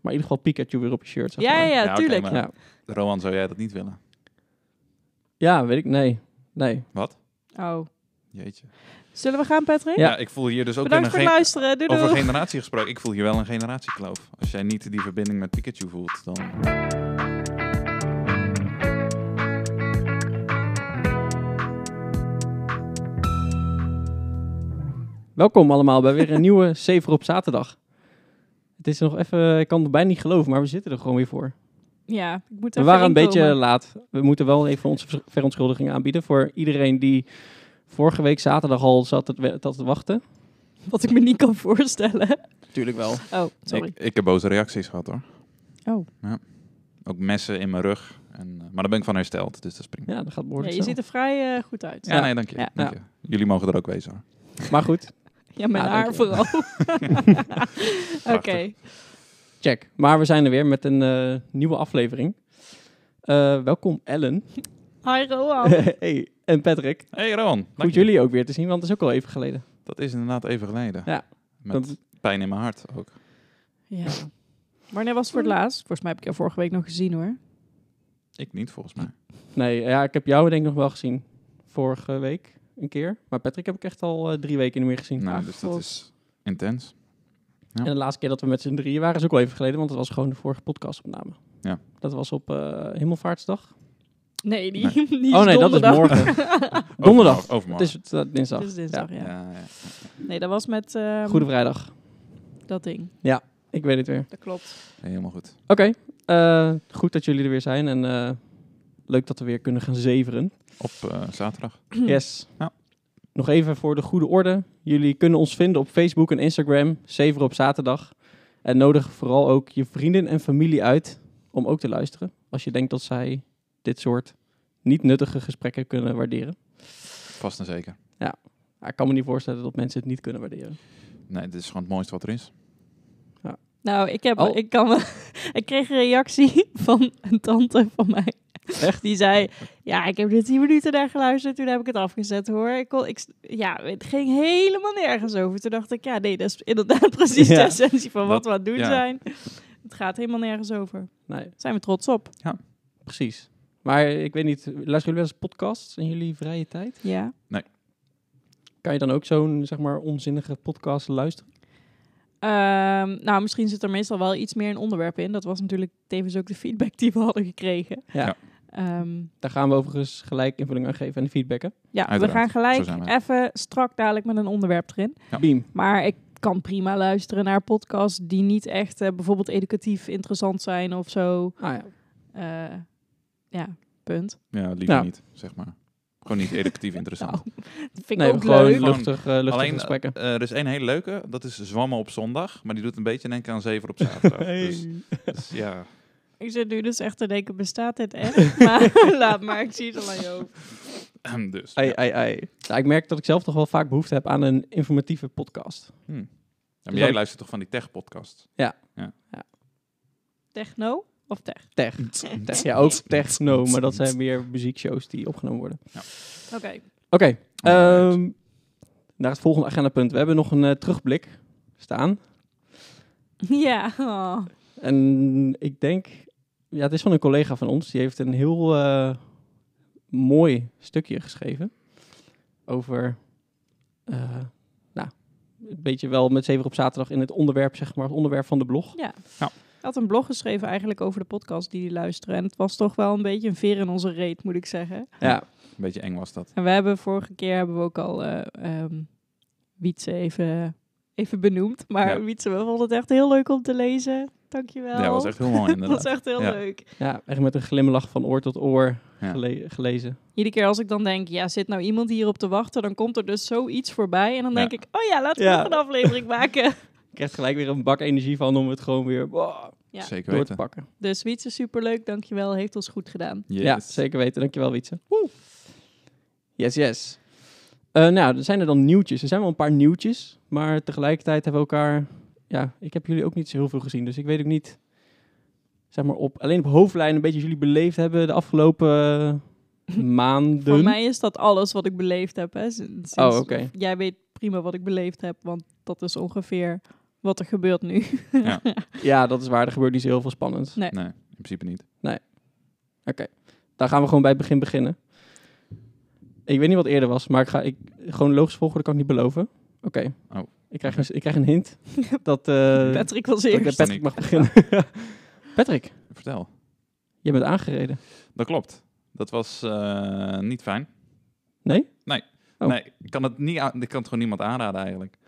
Maar in ieder geval Pikachu weer op je shirt. Zeg Ja, maar. ja, ja, oké, tuurlijk. maar Ja. Rowan, zou jij dat niet willen? Ja, weet ik. Nee. Nee. Oh. Jeetje. Zullen we gaan, Patrick? Ja. Ja, ik voel hier dus ook Bedankt een voor gen- het luisteren. Doei doei. over generatie gesproken. Ik voel hier wel een generatiekloof. Als jij niet die verbinding met Pikachu voelt, dan... Welkom allemaal bij weer een nieuwe Zever op zaterdag. Het is nog even, ik kan het bijna niet geloven, maar we zitten er gewoon weer voor. Ja, ik moet We even waren een beetje inkomen. laat. We moeten wel even onze vers- verontschuldigingen aanbieden voor iedereen die vorige week zaterdag al zat te, we- zat te wachten. Wat ik me niet kan voorstellen. Tuurlijk wel. Oh, sorry. Ik, ik heb boze reacties gehad, hoor. Oh. Ja. Ook messen in mijn rug. En, eh, maar daar ben ik van hersteld, dus dat is prima. Ja, dat gaat Ja, behoorlijk je zo. ziet er vrij eh, goed uit. Ja, Ja. nee, dank je. Ja. dank je. Jullie mogen er ook wezen, hoor. Maar goed, Ja, mijn Ja, haar dank je. vooral. Oké. check. Maar we zijn er weer met een eh, nieuwe aflevering. Eh, welkom Ellen Hi Roan. hey, en Patrick. Hey, Rowan. dank Goed je. jullie ook weer te zien, want het is ook al even geleden. Dat is inderdaad even geleden. Ja. Met Dat- pijn in mijn hart ook. Ja. Wanneer was het voor het laatst? Volgens mij heb ik jou vorige week nog gezien hoor. Ik niet, volgens mij. Nee, ja, ik heb jou denk ik nog wel gezien vorige week een keer. Maar Patrick heb ik echt al eh, drie weken niet meer gezien. Nou, Ah, dus dat God. is intens. En ja. de laatste keer dat we met z'n drieën waren is ook al even geleden, want dat was gewoon de vorige podcastopname. Ja. Dat was op eh Hemelvaartsdag. Nee, die, Nee. die is oh nee, donderdag. dat is morgen. Donderdag. Overmorgen. Het is eh, dinsdag. Het is dinsdag, Ja. ja. Ja, ja. Nee, dat was met ehm, Goede vrijdag. dat ding. Ik weet het weer. Dat klopt. Helemaal goed. Oké, eh, goed dat jullie er weer zijn en eh, leuk dat we weer kunnen gaan zeveren. Op eh, zaterdag. Yes. Ja. Nog even voor de goede orde. Jullie kunnen ons vinden op Facebook en Instagram, 7 op zaterdag. En nodig vooral ook je vrienden en familie uit om ook te luisteren. Als je denkt dat zij dit soort niet nuttige gesprekken kunnen waarderen. Vast en zeker. Maar ik kan me niet voorstellen dat mensen het niet kunnen waarderen. Nee, dit is gewoon het mooiste wat er is. Nou, ik, heb, Oh. ik, kan, wel- ik kreeg een reactie van een tante van mij. Echt? Die zei, ja, ik heb dit 10 minuten naar geluisterd, toen heb ik het afgezet hoor. Ik kon, ik, ja, het ging helemaal nergens over. Toen dacht ik, ja nee, dat is inderdaad precies de Ja. essentie van wat Dat- we aan het doen ja. zijn. Het gaat helemaal nergens over. Nee, Daar zijn we trots op. precies. Maar ik weet niet, luisteren jullie wel eens podcasts in jullie vrije tijd? Ja. Kan je dan ook zo'n, zeg maar, onzinnige podcast luisteren? Ehm, nou, misschien zit er meestal wel iets meer een onderwerp in. Dat was natuurlijk tevens ook de feedback die we hadden gekregen. Ja. Ja. Ehm, Daar gaan we overigens gelijk invulling aan geven en de feedbacken. ja we Uiteraard. gaan Zo gelijk zijn we. even strak dadelijk met een onderwerp erin. Ja. Beam. Maar ik kan prima luisteren naar podcasts die niet echt eh, bijvoorbeeld educatief interessant zijn of zo. Ah ja. Eh, ja, punt. Ja, liever Ja. niet, zeg maar. Gewoon niet educatief interessant. Nou, dat vind ik Nee, ook gewoon leuk. luchtig, eh, luchtige Alleen, gesprekken. eh, er is één hele leuke, dat is zwammen op zondag. Maar die doet een beetje denken aan zeven op zaterdag. Dus, dus ja, Ik zit nu dus echt te denken, bestaat dit echt? maar laat maar, ik zie het al aan je hoofd. dus. Ei, ja. ei, ei. Ja, ik merk dat ik zelf toch wel vaak behoefte heb aan een informatieve podcast. Hm. Ja, maar Dus jij dan- luistert toch van die tech-podcast? Techno of tech? Tech. Tech. Ja, ook techno, maar dat zijn meer muziekshows die opgenomen worden. Oké. Oké, Alright. ehm, naar het volgende agendapunt. We hebben nog een eh, terugblik staan. Ja. oh. En ik denk, ja, het is van een collega van ons. Die heeft een heel eh, mooi stukje geschreven over, eh, nou, een beetje wel met Zeven op zaterdag in het onderwerp, zeg maar, het onderwerp van de blog. Ja. Ja. Ik had een blog geschreven eigenlijk over de podcast die die luisteren. En het was toch wel een beetje een veer in onze reet, moet ik zeggen. Ja, Een beetje eng was dat. En we hebben vorige keer hebben we ook al eh ehm, Wietse even, even benoemd. Maar Ja. Wietse, we vonden het echt heel leuk om te lezen. Dankjewel. Ja, was echt heel mooi Dat was inderdaad. echt heel Ja. leuk. Ja, echt met een glimlach van oor tot oor Ja. gele- gelezen. Iedere keer als ik dan denk, ja, zit nou iemand hierop te wachten, dan komt er dus zoiets voorbij. En dan Ja. denk ik, oh ja, laten we Ja. nog een aflevering maken. Ik krijg gelijk weer een bak energie van om het gewoon weer wow, Ja. Zeker door te weten. pakken. Dus Wietse, superleuk. Dankjewel. Heeft ons goed gedaan. Yes. Ja, zeker weten. Dankjewel, Wietse. Woe. Yes, yes. Eh, nou, er zijn er dan nieuwtjes. Er zijn wel een paar nieuwtjes, maar tegelijkertijd hebben we elkaar... Ja, ik heb jullie ook niet zo heel veel gezien, dus ik weet ook niet... Zeg maar op, alleen op hoofdlijnen een beetje jullie beleefd hebben de afgelopen eh, maanden. Voor mij is dat alles wat ik beleefd heb. Hè. Sinds- sinds- Oh, oké. Jij weet prima wat ik beleefd heb, want dat is ongeveer wat er gebeurt nu. Ja, dat is waar. Er gebeurt niet zo heel veel spannend. Nee, in principe niet. Daar gaan we gewoon bij het begin beginnen. Ik weet niet wat eerder was, maar ik ga ik, gewoon logisch volgorde kan ik niet beloven. Oké. Oh. Ik, krijg een, ik krijg een hint dat, eh, dat Patrick was ik met eerst. eerst. Patrick mag beginnen. Patrick, Vertel. je bent aangereden. Dat klopt. Dat was eh, niet fijn. Nee? Oh. Nee, ik kan, het niet aan- ik kan het gewoon niemand aanraden eigenlijk.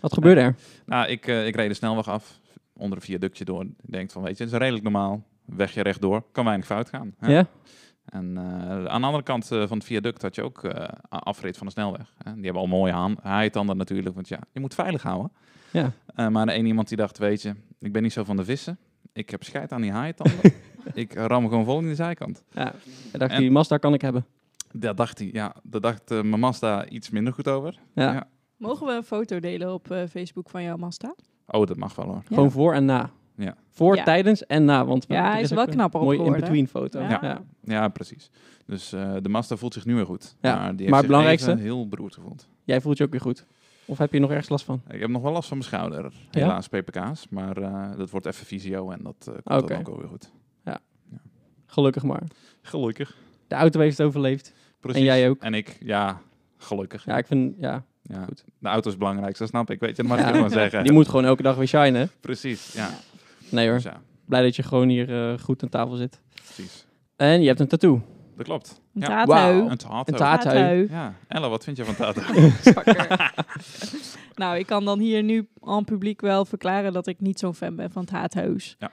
Wat gebeurde er? Nou, ik, eh, ik reed de snelweg af, onder een viaductje door. Ik denk van, weet je, het is redelijk normaal. Wegje rechtdoor, kan weinig fout gaan. hè? Ja? En eh, aan de andere kant eh, van het viaduct had je ook eh, a- afrit van de snelweg. Hè? Die hebben al mooie haan- haaitanden natuurlijk, want ja, je moet veilig houden. Ja. Eh, maar de ene iemand die dacht, weet je, ik ben niet zo van de vissen. Ik heb scheid aan die haaitanden. ik ram gewoon vol in de zijkant. Ja. Ik dacht, En- die Mazda kan ik hebben. Daar dacht hij, ja, daar dacht eh, mijn Mazda iets minder goed over. Ja. Ja. Mogen we een foto delen op eh, Facebook van jouw Mazda? Oh, dat mag wel hoor. Gewoon voor en na. Ja. Voor, Ja. tijdens en na. Want Ja, hij er is ook wel een knapper op Mooie geworden. in-between foto. Ja. Ja. Ja, precies. Dus eh, de Mazda voelt zich nu weer goed. Ja, Maar, die heeft maar het zich belangrijkste- even heel beroerd gevoeld. Jij voelt je ook weer goed. Of heb je nog ergens last van? Ik heb nog wel last van mijn schouder, helaas PPK's. Maar eh, dat wordt even fysio en dat eh, komt Oké. dan ook alweer goed. Gelukkig maar. Gelukkig. De auto heeft het overleefd. Precies. En jij ook? En ik, ja, gelukkig. Ja, ik vind, ja, Ja. goed. De auto is het belangrijkste, dat snap ik. Weet je, dat mag Ja. ik ook wel zeggen. die moet gewoon elke dag weer shinen. Precies, ja. Nee hoor, Dus ja, blij dat je gewoon hier eh, goed aan tafel zit. precies. En je hebt een tattoo. Dat klopt. Een Ja. Tato. Wauw. Een tato. Een tato. Tato. Ja. Ella, wat vind je van tato? Zakker. nou, ik kan dan hier nu aan publiek wel verklaren dat ik niet zo'n fan ben van het haathuis. Ja.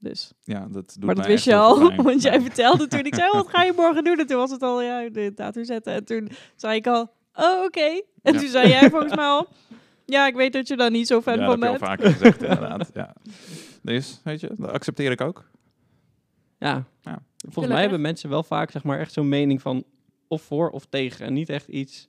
Dus. ja, dat doet maar dat mij wist echt je al, heel veel pijn. want jij vertelde toen ik zei, wat ga je morgen doen? En toen was het al, ja, de tattoo zetten. En toen zei ik al, oh, oké. En Ja. toen zei jij volgens mij al, ja, ik weet dat je daar niet zo fan Ja, van dat heb je bent. al vaker gezegd, inderdaad. Ja. Dus, weet je, dat accepteer ik ook. Ja. Ja. Volgens mij hebben mensen wel vaak zeg maar echt zo'n mening van of voor of tegen. En niet echt iets.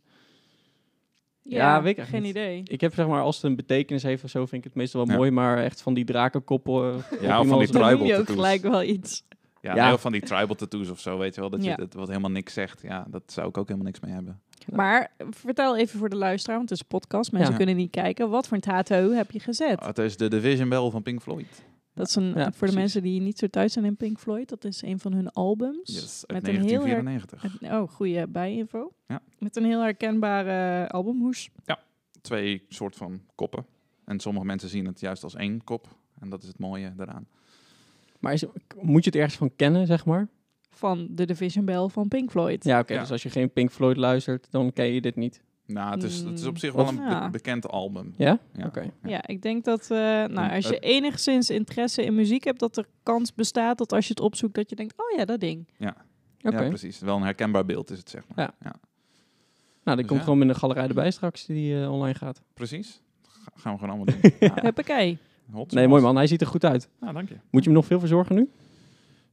Ja, weet ik echt Geen niet. idee. Ik heb zeg maar, als het een betekenis heeft of zo, vind ik het meestal wel Ja. mooi. Maar echt van die drakenkoppen. eh, op van iemand zo- die Dan noem tribal je ook tattoos. gelijk wel iets. Ja, Ja. heel van die tribal tattoos of zo, weet je wel. Dat Ja. je dat wat helemaal niks zegt. Ja, dat zou ik ook helemaal niks mee hebben. Maar vertel even voor de luisteraar, want het is een podcast. Mensen Ja. kunnen niet kijken. Wat voor een tattoo heb je gezet? Ah, het is de Division Bell van Pink Floyd. dat is een, voor precies. de mensen die niet zo thuis zijn in Pink Floyd, dat is een van hun albums. Yes, uit Met een heel her- 1994. Het- Oh, goede bijinfo. Ja. Met een heel herkenbare eh, albumhoes. Twee soort van koppen. En sommige mensen zien het juist als één kop. En dat is het mooie daaraan. Maar is, moet je het ergens van kennen, zeg maar? van de Division Bell van Pink Floyd. Ja, oké. Ja. Dus als je geen Pink Floyd luistert, dan ken je dit niet. Nou, het is, het is op zich Wat- wel een be- Ja. bekend album. Ja? Ja. Oké. Ja, ik denk dat eh, nou, Hm, als je het- enigszins interesse in muziek hebt, dat er kans bestaat dat als je het opzoekt, dat je denkt, oh ja, dat ding. Oké. Ja, precies. Wel een herkenbaar beeld is het, zeg maar. Ja. nou, die Dus komt ja. gewoon in de galerij erbij straks die eh, online gaat. Precies. Ga- gaan we gewoon allemaal doen. Ja, Huppakee. hot Nee, sauce. mooi man. Hij ziet er goed uit. Nou, dank je. Moet je hem nog veel verzorgen nu?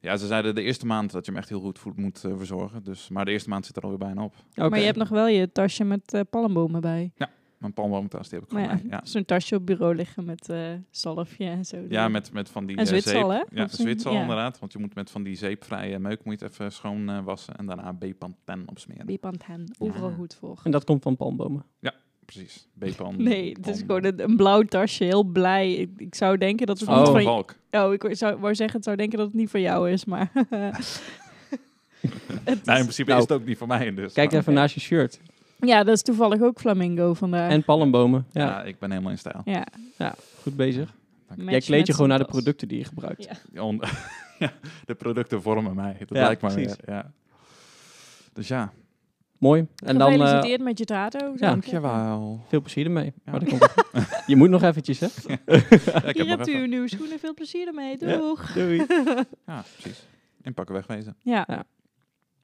Ja, ze zeiden de eerste maand dat je hem echt heel goed voet moet eh, verzorgen. Dus, maar de eerste maand zit er alweer bijna op. Oké. Maar je hebt nog wel je tasje met eh, palmbomen bij. Mijn palmboomtas, die heb ik Maar gewoon ja, mee. Ja. zo'n tasje op bureau liggen met eh zalfje en zo. Ja, met, met van die En eh, Zwitsal, zeep. hè? Ja, Of zo- Zwitsal ja. inderdaad. Want je moet met van die zeepvrije meuk moet je het even schoon eh, wassen. En daarna B-pan-pen opsmeren. Bipant hen, overal Ja. goed voor. En dat komt van palmbomen. Precies. Mm, B-pan. Nee, het is pan- gewoon een, een blauw tasje, heel blij. Ik, ik zou denken dat het Oh. niet Van van de jou... Valk. Oh, ik wou- zou, wou zeggen, het zou denken dat het niet van jou is, maar... Het Nou, in is- principe Nou, is het ook niet voor mij. Dus, Kijk maar- even naast je shirt. Ja, dat is toevallig ook Flamingo vandaag. En palmbomen. Ja. Ja, ik ben helemaal in stijl. ja, goed bezig. Ja, Jij match kleed met je gewoon naar de zijn tas. producten die je gebruikt. Ja. On- Ja, de producten vormen mij. Dat Ja, lijkt me precies. weer, Ja. Dus ja. Mooi. En dan eh, Gefeliciteerd met je tato. ja. Dankjewel. veel plezier ermee. Maar dat komt wel. je moet nog eventjes, hè? Ja, ik heb Hier nog hebt u even. uw nieuwe schoenen. Veel plezier ermee. Ja. Doeg. Doei. Ja, precies. Inpakken, wegwezen. Ja. Ja.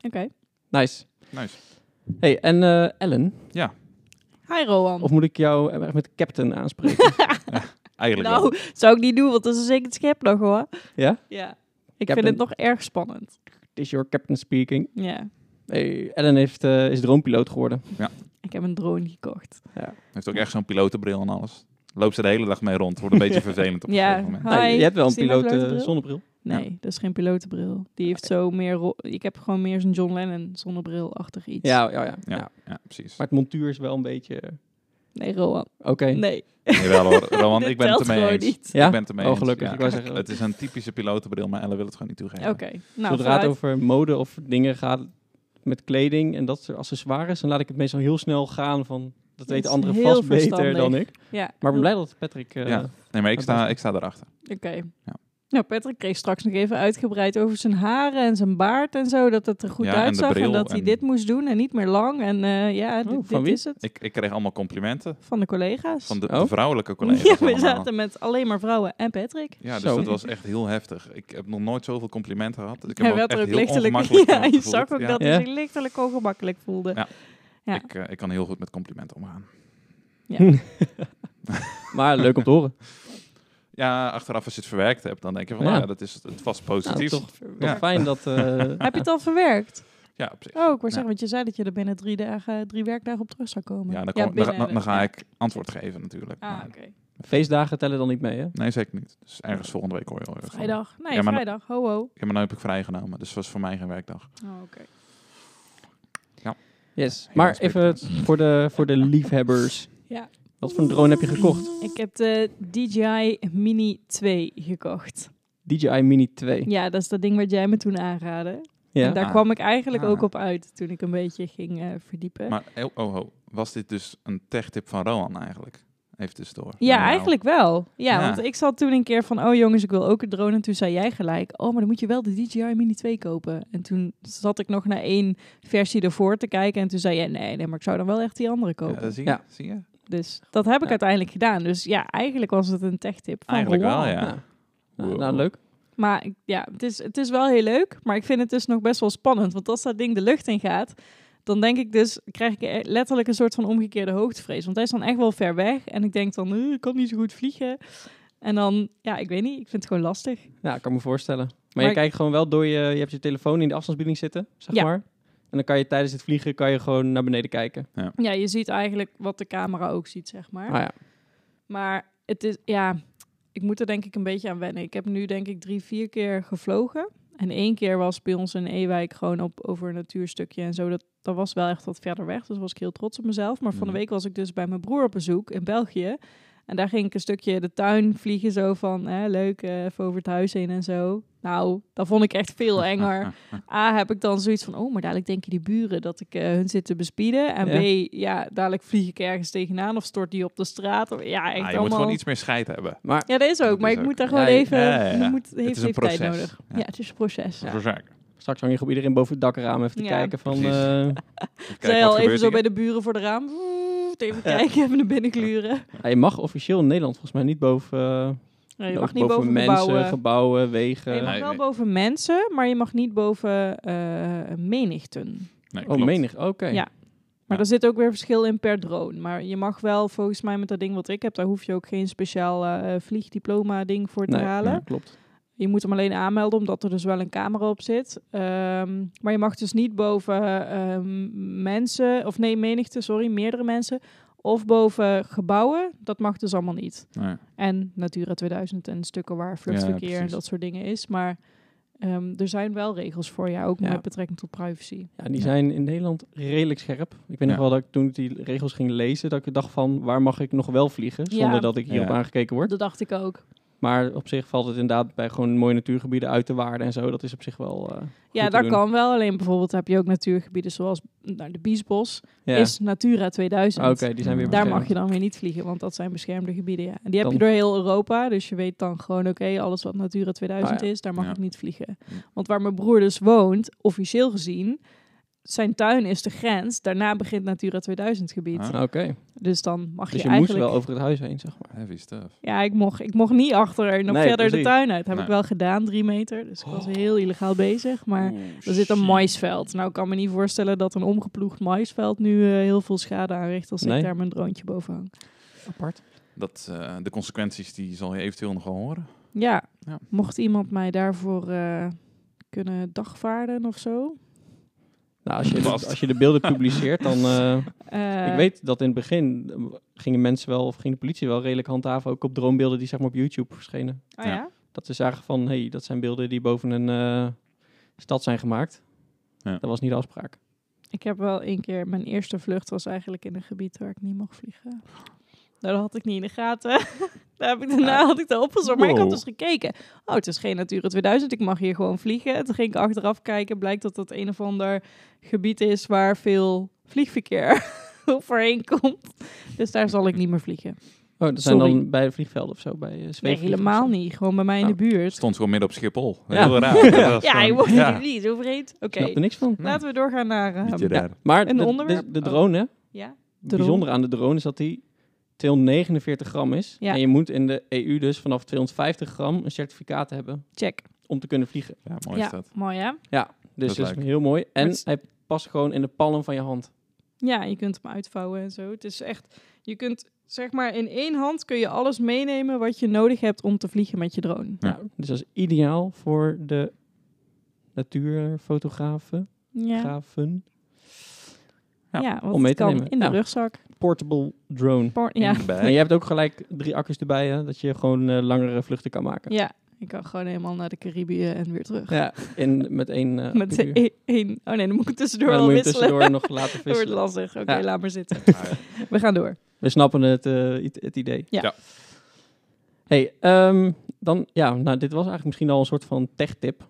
Oké. Nice. Nice. Hey, en eh, Ellen, Hi Rowan. of moet ik jou echt met captain aanspreken? Eigenlijk nou, wel. zou ik niet doen, want dat is zeker het schep nog hoor. ja? Ja. Ik heb vind een- het nog erg spannend. It is your captain speaking. Ja. Hey, Ellen heeft, eh, is droompiloot geworden. Ik heb een drone gekocht. Heeft ook echt zo'n pilotenbril en alles. Loopt ze de hele dag mee rond. Wordt een beetje vervelend op een Ja. gegeven moment. Hi, je hebt wel een zie je mijn piloot eh, pilotenbril? zonnebril. Nee, dat is geen pilotenbril. Die heeft zo meer... ro- Ik heb gewoon meer zo'n John Lennon zonnebril-achtig iets. Ja, ja, ja, Ja, ja. ja precies. Maar het montuur is wel een beetje... eh, Nee, Rowan. Oké. Nee. Jawel hoor, Rowan, Dit ik ben het telt ermee gewoon eens. niet. Ja? Ik ben het ermee Oh, eens. gelukkig. Ja. Ik wou zeggen- Het is een typische pilotenbril, maar Ellen wil het gewoon niet toegeven. Oké. Nou, Zodra het vooruit. over mode of dingen gaat met kleding en dat soort accessoires, dan laat ik het meestal heel snel gaan van dat is weten anderen heel vast beter verstandig. dan ik. Ja. Hm, Maar ik ben blij dat Patrick... eh, Ja. Nee, maar ik sta, ik sta erachter. Oké. Ja. Nou, Patrick kreeg straks nog even uitgebreid over zijn haren en zijn baard en zo. Dat het er goed Ja, en de uitzag en, bril dat hij en- dit moest doen en niet meer lang. En eh, ja, dit, Oh, van dit wie? is het. Ik, ik kreeg allemaal complimenten Van de collega's. van de, de Oh. vrouwelijke collega's. ja, we allemaal. zaten met alleen maar vrouwen en Patrick. Ja, dus Zo. dat was echt heel heftig. Ik heb nog nooit zoveel complimenten gehad. Dus ik heb Hij me ook werd er echt ook heel lichtelijk... ongemakkelijk Ja, van je gevoeld. zag ook Ja, dat Ja. hij zich lichtelijk ongemakkelijk voelde. Ja. Ja. Ik, eh, ik kan heel goed met complimenten omgaan. Maar leuk om te horen. Ja, achteraf als je het verwerkt hebt, dan denk je van, Ja. nou ja, dat is het- het vast Nou, positief. toch, toch Ja. fijn dat... eh, Heb je het al verwerkt? ja, op zich. Oh, ik wou Ja. zeggen, want je zei dat je er binnen drie, dagen, drie werkdagen op terug zou komen. Ja, dan, kom- dan, binnen ga- de- dan ga ja. ik antwoord geven natuurlijk. Ah, Maar- oké. feestdagen tellen dan niet mee, hè? Nee, zeker niet. Dus ergens volgende week hoor je wel weer van. Vrijdag. Nee, Ja, maar- vrijdag. Ho, ho. Ja, maar nu heb ik vrijgenomen, dus het was voor mij geen werkdag. Oh, oké. Yes. Ja, Maar dat is even voor de, voor de liefhebbers. Ja. Wat voor een drone heb je gekocht? Ik heb de DJI Mini 2 gekocht. DJI Mini 2. Ja, dat is dat ding wat jij me toen aanraadde. En Ja. daar Ah. kwam ik eigenlijk Ah. ook op uit toen ik een beetje ging eh, verdiepen. Maar oh, oh, oh, was dit dus een tech-tip van Roan eigenlijk? Even tussendoor. ja, Nou, eigenlijk wel. Ja, Ja. want ik zat toen een keer van, oh jongens, ik wil ook een drone. En toen zei jij gelijk, oh, maar dan moet je wel de DJI Mini 2 kopen. En toen zat ik nog naar één versie ervoor te kijken. En toen zei jij, nee, nee, maar ik zou dan wel echt die andere ja, kopen. dat zie je? Ja. Zie je? dus dat heb ik Ja. uiteindelijk gedaan. Dus ja, eigenlijk was het een tech-tip van Eigenlijk wel, Rowan. ja. Nou, nou, Wow. nou, leuk. Maar ik- ja, het is, het is wel heel leuk. Maar ik vind het dus nog best wel spannend. Want als dat ding de lucht in gaat, dan denk ik dus, krijg ik e- letterlijk een soort van omgekeerde hoogtevrees. Want hij is dan echt wel ver weg. En ik denk dan, "Eh, ik kan niet zo goed vliegen. En dan, ja, ik weet niet. Ik vind het gewoon lastig. Ja, ik kan me voorstellen. Maar, Maar- je kijkt gewoon wel door je... Je hebt je telefoon in de afstandsbediening zitten, zeg Ja. maar. En dan kan je tijdens het vliegen kan je gewoon naar beneden kijken. Ja, je ziet eigenlijk wat de camera ook ziet, zeg maar. Ah ja. Maar het is, ja, ik moet er denk ik een beetje aan wennen. Ik heb nu denk ik drie, vier keer gevlogen. En één keer was bij ons in Ewijk gewoon op over een natuurstukje en zo. Dat, dat was wel echt wat verder weg, dus was ik heel trots op mezelf. Maar van de Mhm. week was ik dus bij mijn broer op bezoek in België. En daar ging ik een stukje de tuin vliegen zo van, hè, leuk, eh, even over het huis heen en zo. Nou, dat vond ik echt veel enger. A, heb ik dan zoiets van, oh, maar dadelijk denken die buren dat ik eh, hun zit te bespieden. En B, ja, dadelijk vlieg ik ergens tegenaan of stort die op de straat. Of, ja, echt Ah, je allemaal. moet gewoon iets meer scheid hebben. Maar Ja, dat is ook, Dat maar is ik ook. moet daar Ja, gewoon ja, even... ja, ja. je Moet, heeft, Het is een heeft tijd proces. nodig. Ja. Ja, het is een proces. Ja. Voor zaken. straks hang je gewoon iedereen boven het dakraam even te Ja. kijken van... Precies. eh, Even kijken Zij wat al even gebeurt zo hier. bij de buren voor de raam. Oeh, Even kijken, even naar binnen gluren. ja, je mag officieel in Nederland volgens mij niet boven... eh, Ja, je mag niet boven, boven mensen, gebouwen. gebouwen, wegen. Ja, je mag Nee, wel nee. boven mensen, maar je mag niet boven eh, menigten. Nee, oh, klopt. menig. Oké. Ja. Maar Ja. er zit ook weer verschil in per drone. Maar je mag wel, volgens mij met dat ding wat ik heb, daar hoef je ook geen speciaal eh, vliegdiploma ding voor te Nee, halen. ja, klopt. Je moet hem alleen aanmelden, omdat er dus wel een camera op zit. Ehm, maar je mag dus niet boven ehm, mensen, of nee, menigte, sorry, meerdere mensen. Of boven gebouwen, dat mag dus allemaal niet. Nee. En Natura 2000 en stukken waar vluchtverkeer en precies. dat soort dingen is. Maar ehm, er zijn wel regels voor, ja, ook Ja. met betrekking tot privacy. Ja, die Ja. zijn in Nederland redelijk scherp. Ik weet nog Ja. wel dat ik toen ik die regels ging lezen, dat ik dacht van waar mag ik nog wel vliegen zonder Ja. dat ik hierop Ja. aangekeken word. Dat dacht ik ook. Maar op zich valt het inderdaad bij gewoon mooie natuurgebieden uit te waarden en zo. Dat is op zich wel. eh, Ja, goed te dat doen. kan wel. Alleen bijvoorbeeld heb je ook natuurgebieden zoals nou, de Biesbos. ja. Is Natura 2000. Ah, Oké, die zijn weer Daar beschermd. mag je dan weer niet vliegen, want dat zijn beschermde gebieden. Ja. En die heb Dan- je door heel Europa, dus je weet dan gewoon, oké, alles wat Natura 2000 Ah, ja. is, daar mag Ja. ik niet vliegen. Hm. Want waar mijn broer dus woont, officieel gezien, zijn tuin is de grens. Daarna begint Natura 2000 gebied. Ah. Oké, Dus dan mag dus je, je moest eigenlijk... wel over het huis heen, zeg maar. Heavy stuff. Ja, ik mocht, ik mocht niet achter, nog Nee, verder de precies. Oh. tuin uit. Heb Nee. ik wel gedaan, drie meter. Dus ik was heel illegaal bezig, maar... Er zit een maisveld. Nou, ik kan me niet voorstellen dat een omgeploegd maisveld nu eh, heel veel schade aanricht als Nee. ik daar mijn droontje boven hang. Apart. Dat, eh, de consequenties die zal je eventueel nog wel horen. Ja, Ja. mocht iemand mij daarvoor eh, kunnen dagvaarden of zo. Nou, als je, de, Vast. als je de beelden publiceert, dan. eh, Eh, ik weet dat in het begin eh, gingen mensen wel, of ging de politie wel redelijk handhaven, ook op dronebeelden die zeg maar op YouTube verschenen. ah ja? Ja. Dat ze zagen van, hé, hey, dat zijn beelden die boven een eh, stad zijn gemaakt. Ja. Dat was niet de afspraak. Ik heb wel één keer, mijn eerste vlucht was eigenlijk in een gebied waar ik niet mocht vliegen. Nou, dat had ik niet in de gaten. Daar heb ik daarna had ik dat opgezocht. Maar ik had Wow. dus gekeken. Oh, het is geen Natura 2000. Ik mag hier gewoon vliegen. Toen ging ik achteraf kijken. Blijkt dat dat een of ander gebied is waar veel vliegverkeer overheen komt. Dus daar zal ik niet meer vliegen. Oh, dat zijn Sorry. dan bij de vliegvelden of zo, bij eh Nee, zweefvliegen of helemaal zo. niet. Gewoon bij mij in de buurt. Stond gewoon midden op Schiphol. Ja. Heel raar. Oh. Dat was Ja, je gewoon- wordt Ja. er niet zo vreed. Oké, Ik snap er niks van. laten we doorgaan naar... eh, Beetje Ja, raar. Maar de, Een de, de, onderwerp? Oh. drone, hè, ja? het bijzondere aan de drone is dat die 249 gram is. Ja. En je moet in de EU dus vanaf 250 gram een certificaat hebben Check. om te kunnen vliegen. Ja, mooi is ja, dat. mooi hè? Dus Dat dat, lijkt is me. heel mooi. En het is- hij past gewoon in de palm van je hand. Ja, je kunt hem uitvouwen en zo. Het is echt, je kunt zeg maar in één hand kun je alles meenemen wat je nodig hebt om te vliegen met je drone. Ja. Nou, dus dat is ideaal voor de natuurfotografen. Ja, Grafen. Ja, ja, want om mee het te kan nemen. in de Ja. rugzak. Portable drone. Por- ja. Erbij. Eh, En je hebt ook gelijk drie accu's erbij, hè? Dat je gewoon eh, langere vluchten kan maken. ja, ik kan gewoon helemaal naar de Caribië en weer terug. Ja, en met één eh, Met accu. de één. Oh nee, dan moet ik het tussendoor Maar dan al moet je hem wisselen. tussendoor nog laten Dat wordt vissen. lastig. Oké, Ja. laat maar zitten. Ah, ja. We gaan door. We snappen het, eh, i- het idee. Ja. Ja. hey, ehm, dan, ja, nou, dit was eigenlijk misschien al een soort van tech-tip.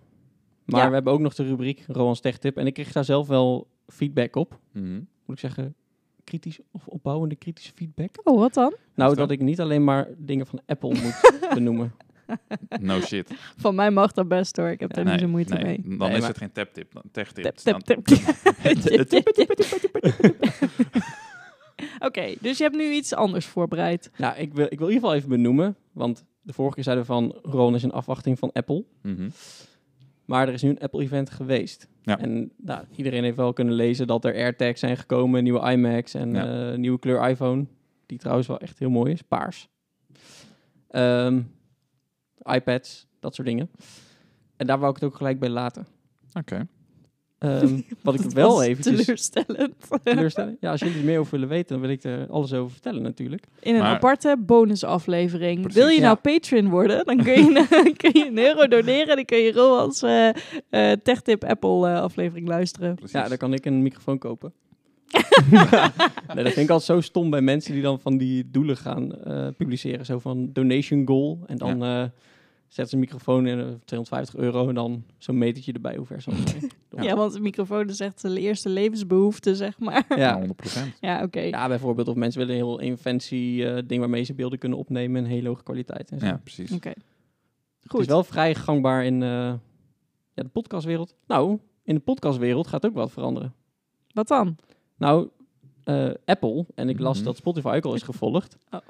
Maar Ja. we hebben ook nog de rubriek Roans Tech-tip. En ik kreeg daar zelf wel feedback op. Mhm. Moet ik zeggen, kritisch of opbouwende kritische feedback. Oh, wat dan? Nou, dat? dat ik niet alleen maar dingen van Apple moet benoemen. No shit. Van mij mag dat best hoor. Ik heb daar Nee, niet zo moeite nee, mee. Dan Nee, is maar- het geen tap-tip, dan tech-tip. Tip, tip, Dan- tip. Tip, tip, tip, tip, tip, tip. Oké, dus je hebt nu iets anders voorbereid. Nou, ik wil, ik wil in ieder geval even benoemen. Want de vorige keer zeiden we van Roan is een afwachting van Apple. Mhm. Maar er is nu een Apple-event geweest. Ja. En nou, iedereen heeft wel kunnen lezen dat er AirTags zijn gekomen, nieuwe iMacs en Ja. eh, nieuwe kleur iPhone. Die trouwens wel echt heel mooi is, paars. Ehm, iPads, dat soort dingen. En daar wou ik het ook gelijk bij laten. Oké. Ehm, wat ik Dat wel was eventjes teleurstellend. teleurstellen. eh, Ja, als jullie er meer over willen weten, dan wil ik er alles over vertellen natuurlijk. In een Maar- aparte bonusaflevering. Precies. Wil je nou Ja. patron worden? Dan kun je, dan kun je een euro doneren. Dan kun je Roans eh eh, Tech Tip Apple eh, aflevering luisteren. Precies. Ja, dan kan ik een microfoon kopen. nee, dat vind ik altijd zo stom bij mensen die dan van die doelen gaan eh, publiceren. Zo van donation goal. En dan eh zetten ze een microfoon in eh, 250 euro en dan zo'n metertje erbij hoe ver ze al zijn. Ja, want de microfoon is echt de eerste levensbehoefte, zeg maar. Ja, ja. 100%. Ja, oké. ja, bijvoorbeeld of mensen willen een heel een fancy eh, ding waarmee ze beelden kunnen opnemen in hele hoge kwaliteit. En zo. Ja, precies. Oké. Het is Goed. wel vrij gangbaar in eh, ja, de podcastwereld. Nou, in de podcastwereld gaat ook wat veranderen. Wat dan? Nou, eh, Apple, en ik las Mhm. dat Spotify ook al is gevolgd, Oh.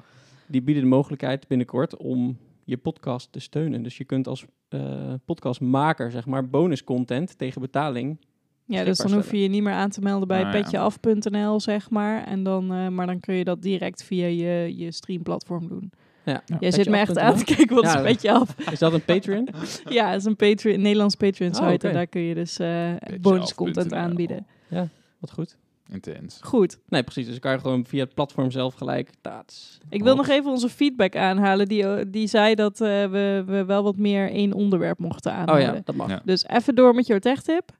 die bieden de mogelijkheid binnenkort om je podcast te steunen. Dus je kunt als eh, podcastmaker, zeg maar, bonuscontent tegen betaling. Ja, dus dan Beschikbaar hoef je je niet meer aan te melden bij Nou ja. petjeaf.nl, zeg maar. En dan, eh, maar dan kun je dat direct via je, je streamplatform doen. Ja, Ja. Jij zit me echt Petjeaf.nl? aan te kijken, wat Ja, is petjeaf? Is dat een Patreon? Ja, het is een, Patreon, een Nederlands Patreon site. Oh, oké. En daar kun je dus eh Beetje bonus content af.nl. aanbieden. Wat goed. Intens. Goed. Nee, precies. Dus dan kan je gewoon via het platform zelf gelijk. Taats. Ik wil Klopt. nog even onze feedback aanhalen. Die, die zei dat eh, we, we wel wat meer één onderwerp mochten Oh aanhouden. ja, dat mag. Ja. Ja. Dus even door met jouw tech tip.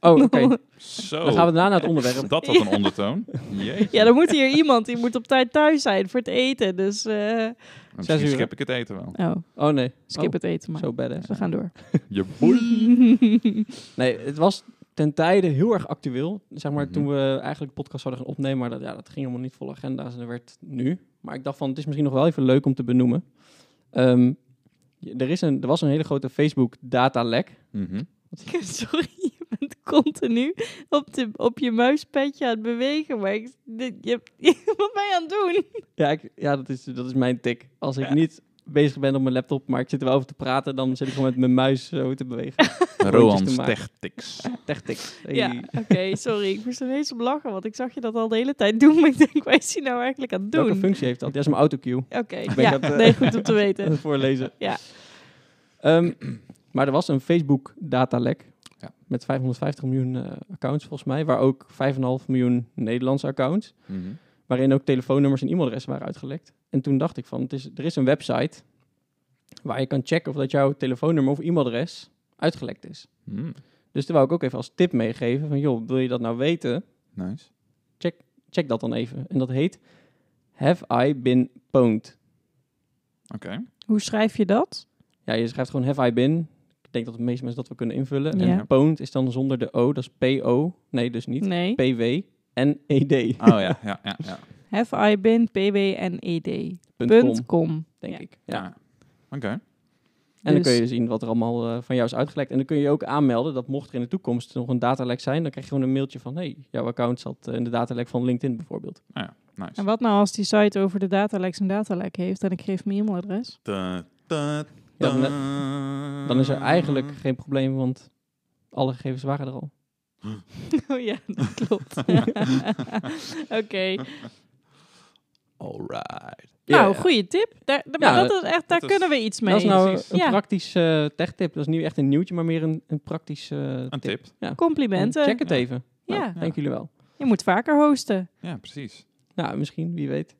Oh, oké. Zo. Dan gaan we daarna naar het onderwerp. Dat had een ondertoon. Jeetje. ja, dan moet hier iemand, die moet op tijd thuis zijn voor het eten. Dus, eh, Misschien uur. skip ik het eten wel. oh, Oh nee. skip het eten maar. Zo eh. badass. Dus we gaan door. Je boei. Nee, het was ten tijde heel erg actueel. Zeg maar Mhm. toen we eigenlijk de podcast zouden gaan opnemen, maar dat, ja, dat ging helemaal niet vol agenda's en dat werd nu. Maar ik dacht van, het is misschien nog wel even leuk om te benoemen. Ehm, je- er, is een, er was een hele grote Facebook datalek. Mhm. Sorry, je bent continu op, de, op je muispetje aan het bewegen. Maar ik, dit, je, hebt- wat ben je aan het doen? Ja, ik, ja dat, is, dat is mijn tik. Als ik niet bezig ben op mijn laptop, maar ik zit er wel over te praten, dan zit ik gewoon met mijn muis zo te bewegen. Roan's te maken. Techtics. Tech tik. Hey. Ja, oké, sorry. Ik moest er ineens op lachen, want ik zag je dat al de hele tijd doen. Maar ik denk, wat is hij nou eigenlijk aan het doen? Welke Oké, functie heeft dat? Ja, is mijn autocue. ben ja, dat, eh, nee, goed om te weten. voorlezen. Ja. Ehm, maar er was een Facebook datalek Ja. met 550 miljoen eh, accounts volgens mij, waar ook 5,5 miljoen Nederlandse accounts, Mhm. waarin ook telefoonnummers en e-mailadressen waren uitgelekt. En toen dacht ik van, het is, er is een website waar je kan checken of dat jouw telefoonnummer of e-mailadres uitgelekt is. Mhm. Dus daar wou ik ook even als tip meegeven van joh, wil je dat nou weten? Nice. Check dat dan even. En dat heet Have I Been Pwned? Oké. Hoe schrijf je dat? Ja, je schrijft gewoon Have I Been. Ik denk dat de meeste mensen dat wel kunnen invullen. Ja. En Pwned is dan zonder de O, dat is P-O. Nee, dus niet. Nee. P-W en E-D. Oh ja, ja, ja. ja. Have I been pwned.com. Punt com, denk Ja. ik. Ja. ja. Oké. En dan Dus- kun je zien wat er allemaal eh, van jou is uitgelekt. En dan kun je je ook aanmelden dat mocht er in de toekomst nog een datalek zijn, dan krijg je gewoon een mailtje van hey, jouw account zat eh, in de datalek van LinkedIn bijvoorbeeld. Nou ja, nice. En wat nou als die site over de datalek zijn datalek heeft en ik geef mijn e-mailadres? Ta, ta, Ja, dan, eh, ta. dan is er eigenlijk geen probleem, want alle gegevens waren er al. Oh ja, dat klopt. Oké. Alright. Nou, goede tip. Daar, daar- maar Ja, dat is echt, daar dat is- kunnen we iets mee. Dat is nou precies. een Ja. praktische eh, tech-tip. Dat is niet echt een nieuwtje, maar meer een, een praktische eh, Een tip. tip. Complimenten. Check het Ja. even. Nou, Ja. Dank jullie wel. Je moet vaker hosten. Ja, precies. Nou, misschien, wie weet.